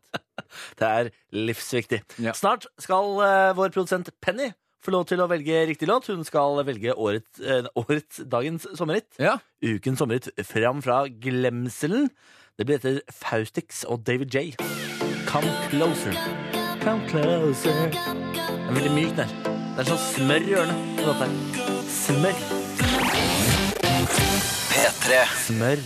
Speaker 2: Det er livsviktig.
Speaker 3: Ja.
Speaker 2: Snart skal eh, vår produsent Penny få lov til å velge riktig låt. Hun skal velge årets, eh, årets dagens sommerhit.
Speaker 3: Ja.
Speaker 2: Ukens sommerhit fram fra glemselen. Det blir etter Faustix og David J. Come closer. Come closer. Den er veldig myk, den her. Det er sånn smør i ørene. den låta her. Smør.
Speaker 1: P3.
Speaker 2: Smør.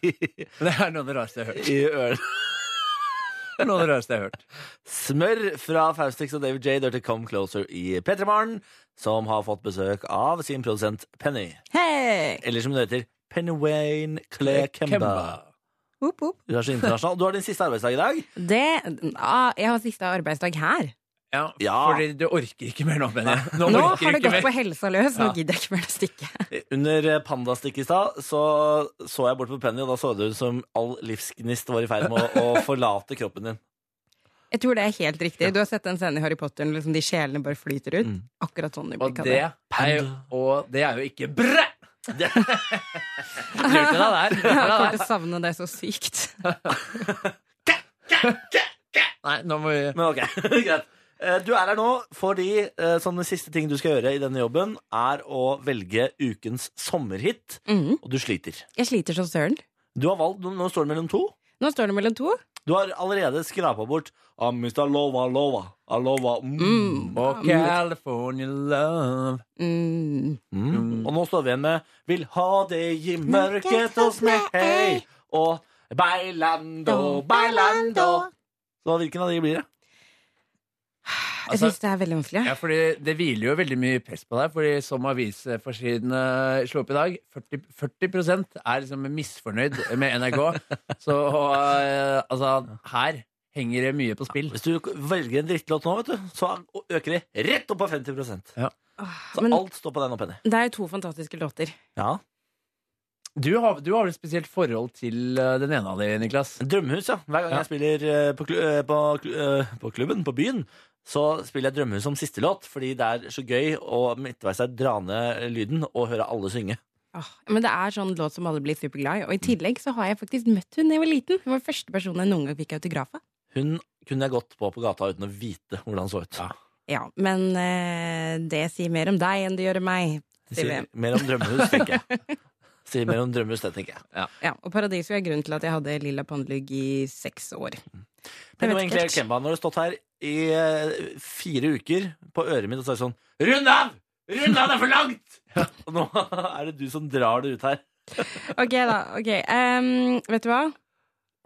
Speaker 3: Det er noe av det rareste jeg har hørt.
Speaker 2: I ørene.
Speaker 3: Det er noe av det rareste jeg har hørt.
Speaker 2: Smør fra Faustix og David J. Det til Come Closer i P3 Morgen, som har fått besøk av sin produsent Penny.
Speaker 7: Hei!
Speaker 2: Eller som det heter, Penny Wayne Claire Kemba.
Speaker 7: Opp, opp.
Speaker 2: Du er så internasjonal. Du har din siste arbeidsdag i dag.
Speaker 7: Det ah, Jeg har siste arbeidsdag her.
Speaker 3: Ja,
Speaker 2: Ja.
Speaker 3: Fordi du orker ikke mer nå, Benny. Nå,
Speaker 7: Nå
Speaker 3: orker du
Speaker 7: har det
Speaker 3: ikke
Speaker 7: gått på
Speaker 3: mer.
Speaker 7: helsa løs. Nå
Speaker 3: Ja.
Speaker 7: gidder jeg ikke mer det stikket.
Speaker 2: Under pandastikket i stad så, så jeg bort på Penny, og da så det ut som all livsgnist var i ferd med å, å forlate kroppen din.
Speaker 7: Jeg tror det er helt riktig. Du har sett den scenen i Harry Potter når liksom de sjelene bare flyter ut. Akkurat sånn i
Speaker 3: Mm. Og
Speaker 7: blikket.
Speaker 3: det, er jo, og det er jo ikke bræ! Det- Lurte deg der.
Speaker 7: Jeg
Speaker 3: Lurte deg
Speaker 7: kommer til
Speaker 3: der.
Speaker 7: å savne det så sykt.
Speaker 3: Nei, nå må vi
Speaker 2: Men ok, greit. Eh, Du er her nå fordi eh, sånne siste ting du skal gjøre i denne jobben, er å velge ukens sommerhit,
Speaker 7: Mhm.
Speaker 2: og du sliter.
Speaker 7: Jeg sliter som søren.
Speaker 2: Du har valgt, nå- Nå står det mellom to.
Speaker 7: Nå står det mellom to.
Speaker 2: Du har allerede skrapa bort ah, Mr. Lova Lova. Ah, Lova. Mm.
Speaker 3: Og California love.
Speaker 7: Mm.
Speaker 2: Mm. Og nå står vi igjen med Vil ha det i mørket hos meg, hei. Og Bailando, Bailando. Så hvilken av de blir det?
Speaker 7: Jeg
Speaker 3: Altså-
Speaker 7: syns det er veldig vanskelig.
Speaker 3: Ja, fordi Det hviler jo veldig mye press på deg, Fordi som avisforsidene slo opp i dag 40, 40 er liksom misfornøyd med NRK. Så eh, altså, her henger det mye på spill.
Speaker 2: Hvis du velger en drittlåt nå, vet du, så øker det rett opp på 50
Speaker 7: Åh,
Speaker 2: Så
Speaker 7: Men
Speaker 2: alt står på den opp, Henny.
Speaker 7: det er jo to fantastiske låter.
Speaker 2: Ja.
Speaker 3: Du har, du har vel et spesielt forhold til eh, den ene av de, Niklas?
Speaker 2: Drømmehus, ja. Hver gang
Speaker 3: Ja.
Speaker 2: jeg spiller eh, på, klu- eh, på, klu- eh, på klubben, på byen, så spiller jeg Drømmehus som siste låt, fordi det er så gøy å midtveis her dra ned lyden og høre alle synge.
Speaker 7: Åh, Men det er sånn låt som alle blir superglad i. Og i tillegg så har jeg faktisk møtt hun da jeg var liten. Hun var første personen jeg noen gang fikk autograf av.
Speaker 2: Hun kunne jeg gått på på gata uten å vite hvordan han så ut.
Speaker 7: Ja, men eh, det sier mer om deg enn det gjør om meg. sier
Speaker 2: Sier
Speaker 7: vi.
Speaker 2: mer om drømmehus, tenker jeg. Sier mer om drømmehus, det tenker jeg.
Speaker 7: Ja, og Paradiso er grunnen til at jeg hadde lilla pannelugg i seks år.
Speaker 2: Men
Speaker 7: Jeg
Speaker 2: nå
Speaker 7: vet
Speaker 2: egentlig,
Speaker 7: ikke helt.
Speaker 2: Kemba, nå har du stått her i eh, fire uker på øret mitt og sagt sånn Rund av! Rund av, det er for langt! Og nå er det du som drar det ut her.
Speaker 7: Ok, da. ok ehm, Vet du hva?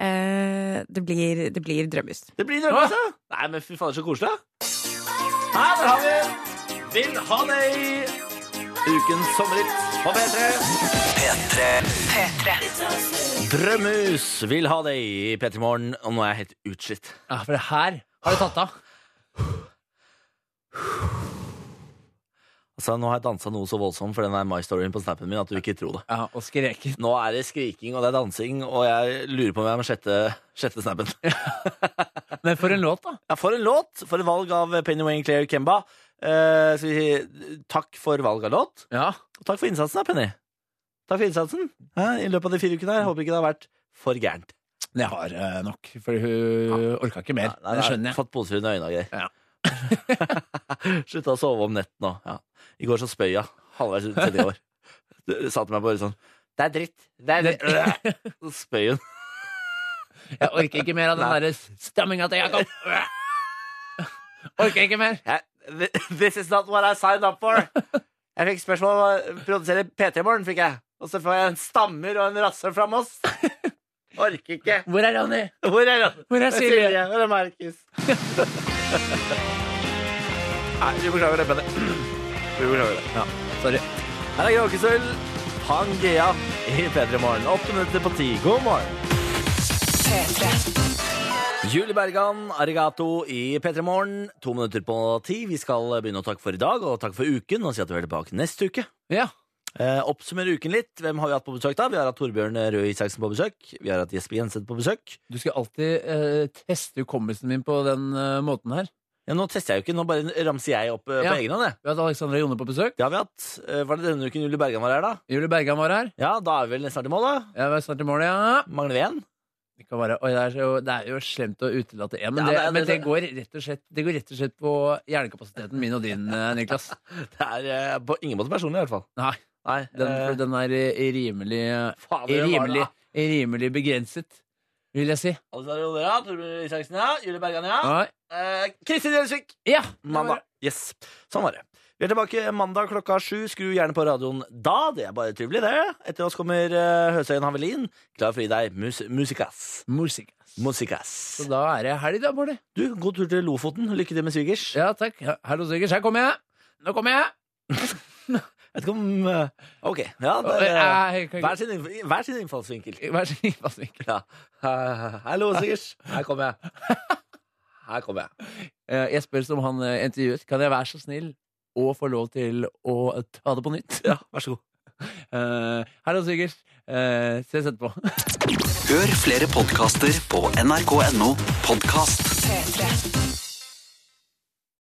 Speaker 7: Eh, det blir, det blir drømmehus.
Speaker 2: Det blir drømmehus, ja! Nei, men fy fader, så koselig. da. Her har vi Vil ha deg ukens sommerhit på P3.
Speaker 1: P3.
Speaker 2: Drømmehus vil ha deg i P3 Morgen, og nå er jeg helt utslitt.
Speaker 3: Ja, For det her har du tatt av.
Speaker 2: Altså, nå har jeg dansa noe så voldsomt for den der My Storyen på snappen min at du ikke tror det.
Speaker 3: Ja, Og skreket.
Speaker 2: Nå er det skriking og det er dansing, og jeg lurer på om jeg må sjette, sjette snappen.
Speaker 3: Men for en låt, da.
Speaker 2: Ja, for en låt! For et valg av Penny Wayne Claire Kemba. Eh, skal vi si takk for valg av låt,
Speaker 3: Ja.
Speaker 2: og takk for innsatsen da, Penny. Takk for innsatsen ja, i løpet av de fire ukene. her. Jeg håper ikke det har vært for gærent.
Speaker 3: Men jeg har eh, nok, for hun orka ikke mer.
Speaker 2: Nei,
Speaker 3: det
Speaker 2: nei,
Speaker 3: skjønner jeg.
Speaker 2: Fått poser under øynene og greier.
Speaker 3: Ja.
Speaker 2: Slutta å sove om netten òg. Ja. I går så spøy jeg halvveis ut tredje år. Du sa til meg bare sånn Det er dritt. Det er dritt. Så spøy hun.
Speaker 3: Jeg orker ikke mer av den
Speaker 2: Nei.
Speaker 3: derre stamminga til Jakob. Orker ikke mer.
Speaker 2: Jeg- This is not what I signed up for. Jeg fikk spørsmål om å produsere P3 Morgen, fikk jeg. Og så får jeg en stammer og en rasshøl fra Moss. Orker ikke.
Speaker 3: Hvor er Ronny?
Speaker 2: Hvor er han?
Speaker 3: Hvor er Silje?
Speaker 2: Hvor er Markus? Nei, vi beklager det, Benny. Vi beklager det. Ja, sorry. Her er Gråkesølv, Hang Gea i P3 Morgen. Åtte minutter på ti. God morgen. Julie Bergan, arigato i P3 Morgen. To minutter på ti. Vi skal begynne å takke for i dag og takke for uken. Og si at vi er tilbake neste uke.
Speaker 3: Ja.
Speaker 2: Eh, oppsummere uken litt. Hvem har vi hatt på besøk? da? Vi har hatt Torbjørn Røe Isaksen på besøk. Vi har hatt Jesper Jenseth på besøk.
Speaker 3: Du skal alltid eh, teste hukommelsen min på den eh, måten her.
Speaker 2: Ja, nå tester jeg jo ikke, nå bare ramser jeg opp eh,
Speaker 3: Ja.
Speaker 2: på egen hånd. jeg.
Speaker 3: Vi har hatt Alexandra Jone på besøk.
Speaker 2: Det har vi hatt. Eh, Var det denne uken Julie Bergan var her, da?
Speaker 3: Julie Bergan var her.
Speaker 2: Ja, da er vi vel nesten snart i mål, da.
Speaker 3: Jeg var snart i mål, ja.
Speaker 2: Mangler vi én?
Speaker 3: Det, kan være, oi, det, er, jo, det er jo slemt å utelate én, men,
Speaker 2: Ja,
Speaker 3: det,
Speaker 2: det er-
Speaker 3: men det,
Speaker 2: det-
Speaker 3: går rett og slett, det går rett og slett på hjernekapasiteten min og din, eh, Niklas.
Speaker 2: Det er eh, på ingen måte personlig, i hvert fall.
Speaker 3: Nei,
Speaker 2: Nei,
Speaker 3: den, for
Speaker 2: eh,
Speaker 3: den er eh, rimelig, eh,
Speaker 2: faen, det var
Speaker 3: rimelig,
Speaker 2: det, da.
Speaker 3: rimelig begrenset, vil jeg si.
Speaker 2: Alexander Olde, ja. Torbjørn Isaksen, ja. Julie Bergan, ja.
Speaker 3: Nei.
Speaker 2: Eh, Kristin Gjelsvik.
Speaker 3: Ja!
Speaker 2: Mandag. Yes. Sånn var det. Vi er tilbake mandag klokka sju. Skru gjerne på radioen da. Det er bare trivelig, det. Etter oss kommer eh, Høsøyen Havelin. Klar for å gi deg mus musikas.
Speaker 3: Musikk.
Speaker 2: Musikas.
Speaker 3: Så da er det helg, da, Bård.
Speaker 2: Du, god tur til Lofoten. Lykke til med svigers.
Speaker 3: Ja, takk. Ja, Hallo, Sigurd. Her kommer jeg. Nå kommer jeg.
Speaker 2: Jeg vet ikke om eh, Ok. Ja, det er,
Speaker 3: eh, Jeg- jeg-
Speaker 2: hver, sin, innf- hver sin innfallsvinkel.
Speaker 3: Vær så snill, vær så snill.
Speaker 2: Ja. Eh, Hallo, Sigurds. Her kommer jeg. Her kommer jeg.
Speaker 3: Eh, Jeg spør som han eh, intervjuet, kan jeg være så snill og få lov til å ta det på nytt?
Speaker 2: Ja, Vær så god.
Speaker 3: Eh, Hallo, Sigurd. Eh, ses etterpå.
Speaker 1: Hør flere podkaster på nrk.no podkast.